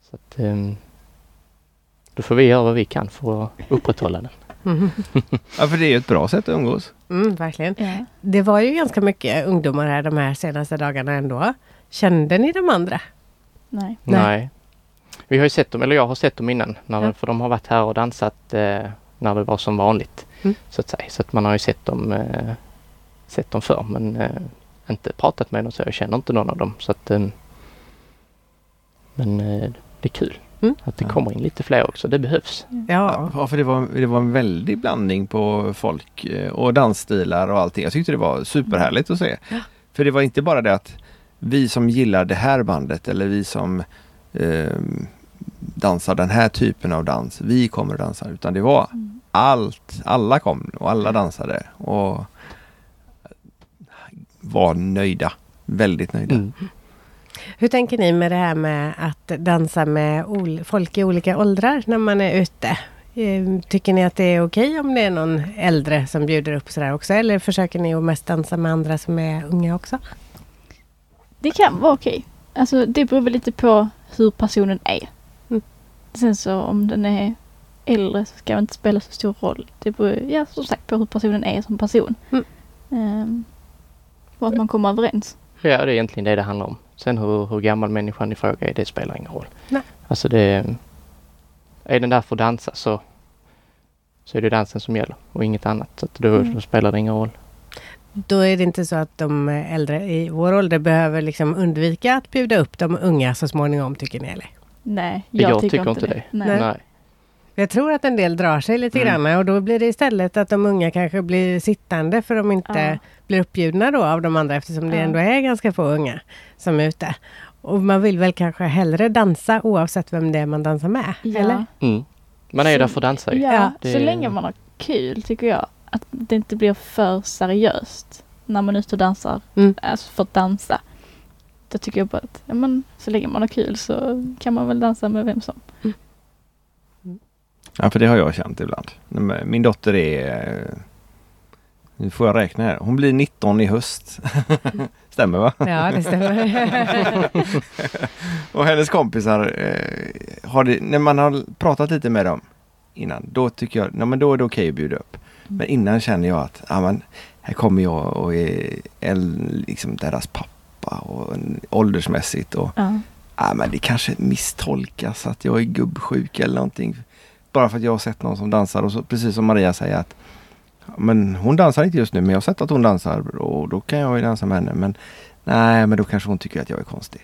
S3: Så att, ehm, då får vi göra vad vi kan för att upprätthålla den.
S2: Mhm.
S1: ja, för det är ju ett bra sätt att umgås.
S2: Mm, verkligen.
S5: Ja.
S2: Det var ju ganska mycket ungdomar här de här senaste dagarna ändå. Kände ni de andra?
S5: Nej.
S2: Nej.
S3: Nej. Vi har ju sett dem, eller jag har sett dem innan, när,
S2: Ja.
S3: för de har varit här och dansat eh, när det var som vanligt.
S2: Mm.
S3: Så att säga. Så att man har ju sett dem, eh, sett dem förr men eh, inte pratat med dem så. Jag känner inte någon av dem. Så att, eh, men eh, det är kul
S2: Mm.
S3: att det
S1: Ja.
S3: kommer in lite fler också. Det behövs.
S2: Ja.
S1: Ja, för det var, det var en väldig blandning på folk eh, och dansstilar och allting. Jag tyckte det var superhärligt att se. För det var inte bara det att vi som gillar det här bandet eller vi som eh, dansar den här typen av dans, vi kommer att dansa. Utan det var
S5: Mm.
S1: allt, alla kom och alla dansade och var nöjda. Väldigt nöjda.
S2: Hur tänker ni med det här med att dansa med ol- folk i olika åldrar när man är ute? Ehm, Tycker ni att det är okej om det är någon äldre som bjuder upp sådär också? Eller försöker ni att mest dansa med andra som är unga också?
S5: Det kan vara okej. Alltså det beror väl lite på hur personen är.
S2: Mm.
S5: Sen så om den är äldre så ska det inte spela så stor roll. Det beror ja, som sagt på hur personen är som person.
S2: Mm.
S5: Ehm, och att man kommer överens.
S3: Ja, det är egentligen det det handlar om. Sen hur, hur gammal människan i fråga är, det spelar ingen roll.
S2: Nej.
S3: Alltså det... Är den där för att dansa så, så är det dansen som gäller och inget annat. Så att då,
S5: Mm.
S3: då spelar det ingen roll.
S2: Då är det inte så att de äldre i vår ålder behöver liksom undvika att bjuda upp de unga så småningom tycker ni? Eller?
S5: Nej,
S3: Jag tycker inte det.
S5: Nej.
S2: Jag tror att en del drar sig lite
S3: Mm.
S2: grann och då blir det istället att de unga kanske blir sittande för de inte
S5: Ja.
S2: blir uppbjudna då av de andra eftersom det
S5: Ja.
S2: ändå är ganska få unga som är ute. Och man vill väl kanske hellre dansa oavsett vem det är man dansar med?
S5: Ja.
S2: Eller?
S3: Mm. Man är ju
S5: Så-
S3: där för att dansa ju.
S5: Ja,
S3: Det-
S5: så länge man har kul tycker jag. Att det inte blir för seriöst när man är ute och dansar.
S2: Mm.
S5: Alltså för att dansa. Då tycker jag bara att ja, men, så länge man har kul så kan man väl dansa med vem som.
S1: Ja, för det har jag känt ibland. Men Min dotter är... eh, Nu får jag räkna här. Hon blir 19 i höst. Stämmer va?
S2: Ja, det stämmer.
S1: Och hennes kompisar, eh, har det, när man har pratat lite med dem innan, då tycker jag, nej, men då är det okej att bjuda upp. Men innan känner jag att, ja men, här kommer jag och är äl- liksom deras pappa och en, åldersmässigt och
S5: Ja.
S1: ja, Ah, men det kanske misstolkas att jag är gubbsjuk eller någonting. Bara för att jag har sett någon som dansar och så, precis som Maria säger att "Ja, men hon dansar inte just nu men jag har sett att hon dansar och då kan jag ju dansa med henne men nej men då kanske hon tycker att jag är konstig.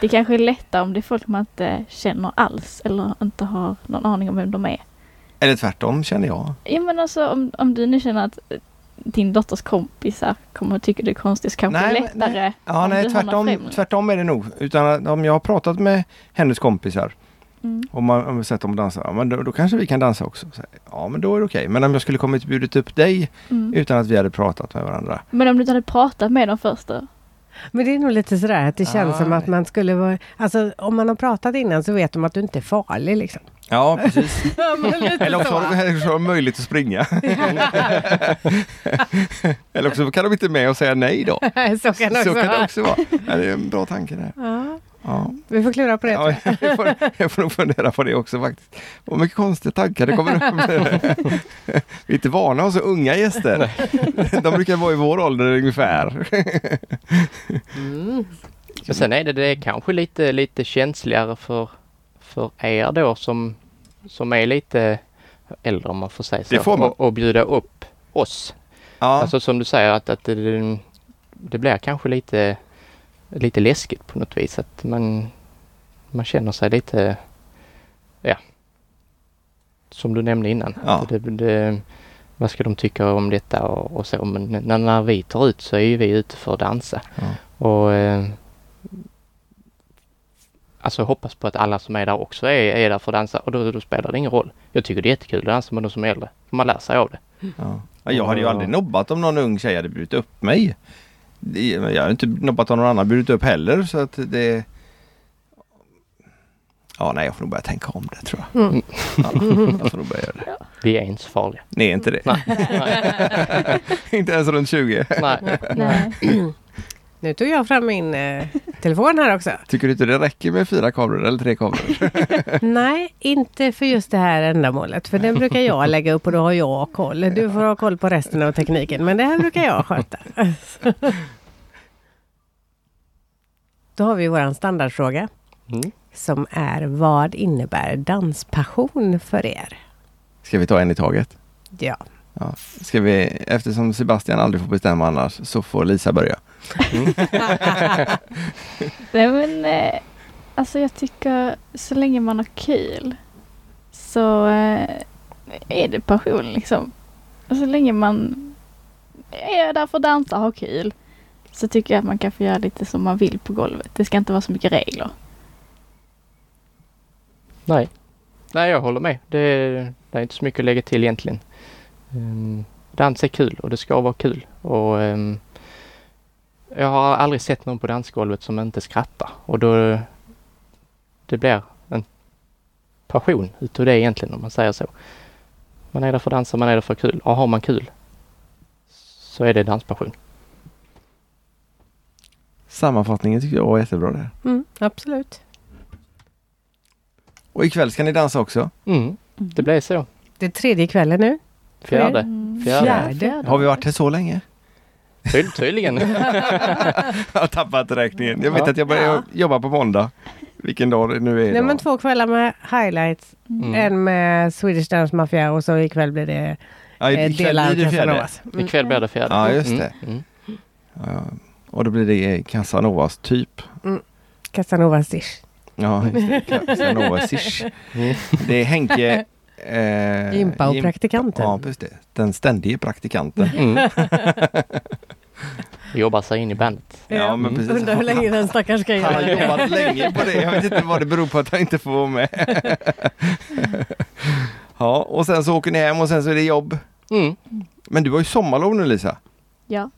S5: Det kanske är lättare om det är folk man inte känner alls eller inte har någon aning om vem de är.
S1: Eller tvärtom känner jag.
S5: Ja men alltså om, om du nu känner att eh, din dotters kompisar kommer att tycka det är konstigt. Så kanske
S1: Nej,
S5: det är
S1: men-
S5: lättare
S1: Ja,
S5: om
S1: nej,
S5: du har
S1: tvärtom,
S5: någon främling.
S1: tvärtom är det nog. Utan om jag har pratat med hennes kompisar
S5: Mm.
S1: Om man om vi sett dem dansa, ja, men då, då kanske vi kan dansa också. Så, här, ja men då är det okej. Men om jag skulle kommit och bjudit upp dig
S5: Mm.
S1: utan att vi hade pratat med varandra.
S5: Men om du inte hade pratat med dem först då?
S2: Men det är nog lite sådär att det känns
S1: Ah,
S2: som att
S1: nej.
S2: man skulle vara... Alltså om man har pratat innan så vet de att du inte är farlig liksom.
S1: Ja precis.
S2: Ja, men lite
S1: Eller också
S2: så.
S1: har de- eller också har de möjlighet att springa. Eller också kan de inte med och säga nej då.
S2: så kan det också
S1: Så kan det
S2: vara.
S1: också vara. Ja, det är en bra tanke där.
S2: Ja,
S1: Ja.
S2: vi får klura på det.
S1: Ja, jag, får, jag får nog fundera på det också faktiskt. Vad mycket konstiga tankar det kommer upp. Vi är inte vana att ha så unga gäster. De brukar vara i vår ålder ungefär.
S2: Mm.
S3: Men sen är det, det är kanske lite, lite känsligare för, för er då som, som är lite äldre om man får säga så.
S1: Det får man.
S3: Och, och bjuda upp oss.
S1: Ja.
S3: Alltså som du säger att, att det, det blir kanske lite, lite läskigt på något vis. Att man, man känner sig lite, ja, som du nämnde innan.
S1: Ja.
S3: Att Det, det, vad ska de tycka om detta och, och så. Men när, när vi tar ut så är ju vi ute för att dansa.
S1: Ja.
S3: Och eh, Alltså jag hoppas på att alla som är där också är, är där för att dansa och då, då spelar det ingen roll. Jag tycker det är jättekul att dansa med de som är äldre. Man lär sig av det.
S1: Ja. Ja, Jag hade ju aldrig nobbat om någon ung tjej hade bjudit upp mig. Det- Jag har inte nobbat om någon annan bjudit upp heller så att det... Ja, nej, jag får nog börja tänka om det tror jag.
S2: Mm.
S1: Ja, jag får nog börja göra det.
S3: Vi är inte så farliga.
S1: Nej, inte det.
S3: Nej. Nej.
S1: inte ens runt 20.
S3: Nej.
S5: Nej.
S2: Nu tog jag fram min eh, telefon här också.
S1: Tycker du inte det räcker med fyra kameror eller tre kameror?
S2: Nej, inte för just det här ändamålet. För den brukar jag lägga upp och då har jag koll. Du får ha koll på resten av tekniken. Men det här brukar jag sköta. Då har vi våran standardfråga.
S3: Mm.
S2: Som är vad innebär danspassion för er?
S1: Ska vi ta en i taget?
S2: Ja.
S1: Ja. Ska vi, eftersom Sebastian aldrig får bestämma annars så får Lisa börja.
S5: Nej men eh, alltså jag tycker så länge man har kul så eh, är det passion liksom. Och så länge man är där för att dansa och ha kul så tycker jag att man kan få göra lite som man vill på golvet. Det ska inte vara så mycket regler.
S3: Nej. Nej, jag håller med. Det, är- det är inte så mycket att lägga till egentligen. Um, dans är kul och det ska vara kul. Och, ehm, jag har aldrig sett någon på dansgolvet som inte skrattar och då det blir en passion utav det egentligen om man säger så. Man är där för att dansa, man är där för att ha kul och har man kul så är det danspassion.
S1: Sammanfattningen tycker jag var jättebra där.
S2: Mm, absolut.
S1: Och ikväll ska ni dansa också.
S3: Mm, det blir så.
S2: Det är tredje kvällen nu.
S3: Fjärde.
S5: Mm.
S3: Fjärde.
S2: Fjärde.
S1: Har vi varit här så länge?
S3: Tyd- tydligen. Mm.
S1: Jag har tappat räkningen. Jag vet
S3: Ja.
S1: att jag börjar jobba på måndag. Vilken dag det nu är
S2: Nej,
S1: idag.
S2: men två kvällar med highlights.
S3: Mm.
S2: En med Swedish Dance Mafia och så ikväll blir det
S1: ja,
S2: eh,
S1: ikväll
S2: delar av
S1: blir det fjärde.
S2: Casanovas. Mm.
S3: Ikväll blir det fjärde.
S1: Ja, just det.
S3: Mm. Mm.
S1: Ja, och då blir det Casanovas typ.
S2: Casanovas-ish.
S1: Ja, just det. Casanovas-ish.
S3: Mm.
S1: Det är Henke... Eh,
S2: Gympa och
S1: gym-
S2: praktikanten.
S1: Ja, just det. Den ständige praktikanten.
S3: Mm. Jobbar sig in i bandet.
S1: Ja, men precis.
S2: Undrar hur länge den stackaren ska
S1: Han
S2: göra
S1: har
S2: det.
S1: jobbat länge på det. Jag vet inte vad det beror på att han inte får vara med. Ja, och sen så åker ni hem och sen så är det jobb.
S3: Mm.
S1: Men du har ju sommarlov nu Lisa.
S5: Ja.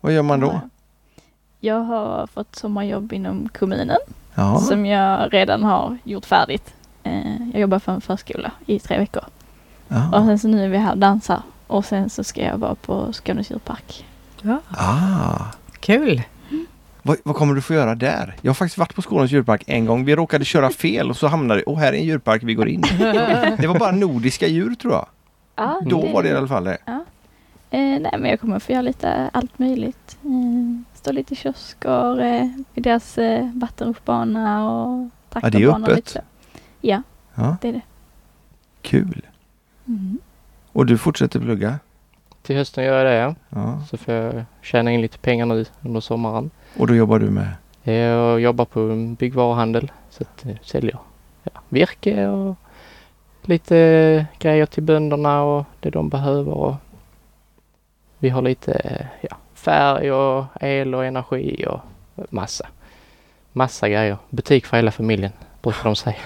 S1: Vad gör man då?
S5: Jag har fått sommarjobb inom kommunen
S1: Ja.
S5: som jag redan har gjort färdigt. Eh, Jag jobbar för en förskola i tre veckor. Och
S1: ja.
S5: sen så nu är vi här och dansar. Och sen så ska jag vara på Skånes djurpark.
S1: Ah.
S2: Kul!
S1: Vad, vad kommer du få göra där? Jag har faktiskt varit på Skånes djurpark en gång. Vi råkade köra fel och så hamnade vi, åh här är en djurpark, vi går in. Det var bara nordiska djur tror jag.
S5: Ja,
S1: Mm. Då var det i alla fall det.
S5: Eh, nej, men jag kommer få göra lite allt möjligt. Eh, stå lite i kiosker eh, vid deras eh, vattenrutschbana och
S1: är
S5: traktorbana. och
S1: öppet.
S5: lite så. Ja,
S1: Ja.
S5: det är det.
S1: Kul.
S5: Mm.
S1: Och du fortsätter plugga?
S3: Till hösten gör jag det ja.
S1: Ja.
S3: Så får jag tjäna in lite pengar nu under sommaren.
S1: Och då jobbar du med?
S3: Jag jobbar på en byggvaruhandel så att jag säljer ja, virke och eh, lite grejer till bönderna och det de behöver. Och Vi har lite eh, ja, färg och el och energi och massa. Massa grejer. Butik för hela familjen brukar de säga.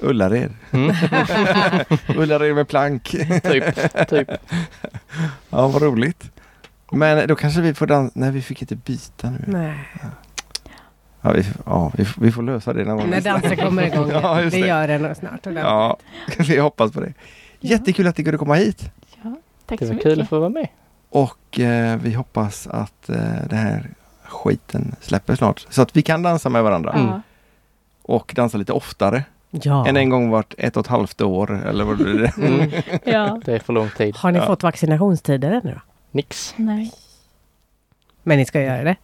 S1: Ullared.
S3: Mm.
S1: Ullared med plank.
S3: typ, typ.
S1: Ja, vad roligt. Men då kanske vi får dansa. Nej, vi fick inte byta nu.
S2: Nej.
S1: Ja, vi, får- ja, vi, får- vi får lösa det någon gång.
S2: När dansen kommer igång.
S1: Ja,
S2: det.
S1: just det.
S2: gör den snart. Och ja.
S1: Ja, vi hoppas på det. Jättekul att ni kunde komma hit.
S5: Ja, tack
S3: Det
S5: så
S3: var kul
S5: mycket.
S3: att få vara med.
S1: Och eh, vi hoppas att eh, det här skiten släpper snart. Så att vi kan dansa med varandra.
S2: Mm.
S5: Ja.
S1: Och dansa lite oftare.
S2: ja.
S1: Än en gång vart ett och ett halvt år. Eller vad blir det?
S3: Mm.
S5: ja,
S3: Det är för lång tid.
S2: Har ni
S1: Ja.
S2: fått vaccinationstider ännu då?
S3: Nix.
S5: nej.
S2: Men ni ska göra det?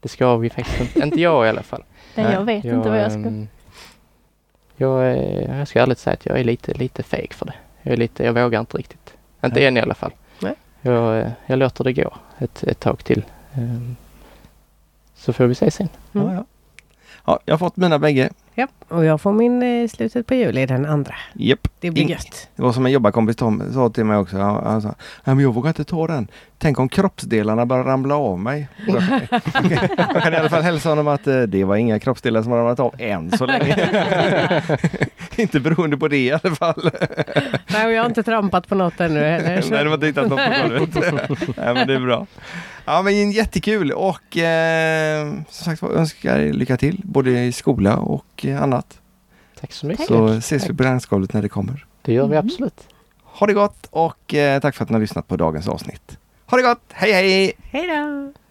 S3: Det ska vi faktiskt inte. Inte jag i alla fall.
S5: Nej, jag
S1: Nej,
S5: vet inte vad jag ska...
S3: ehm, Jag, är- jag ska ärligt säga att jag är lite, lite feg för det. Jag, är lite, jag vågar inte riktigt. Inte
S1: Nej.
S3: än i alla fall.
S2: Nej.
S3: Jag, eh, jag låter det gå ett, ett tag till. Ehm, Så får vi se sen.
S2: Mm.
S1: Ja, ja. ja, jag har fått mina bägge.
S2: Ja. Och jag får min eh, slutet på juli, den andra.
S1: Japp.
S2: Det blir
S1: In-
S2: gött.
S1: Det var som en jobbarkompis Tom sa till mig också. Han, han sa, Nej, men jag vågar inte ta den. Tänk om kroppsdelarna börjar ramla av mig. Jag, jag kan i alla fall hälsa honom att eh, det var inga kroppsdelar som har ramlat av än så länge. inte beroende på det i alla fall.
S2: Nej, och jag har inte trampat på något ännu heller.
S1: Nej,
S2: så-
S1: det var inte hittat något på golvet. Nej, men det är bra. Ja, men jättekul och eh, som sagt var önskar er lycka till både i skola och eh, annat.
S3: Tack så mycket.
S1: Så ses vi på dansgolvet när det kommer.
S3: Det gör vi
S5: Mm.
S3: absolut.
S1: Ha det gott och eh, tack för att ni har lyssnat på dagens avsnitt. Ha det gott! Hej hej!
S2: Hej då!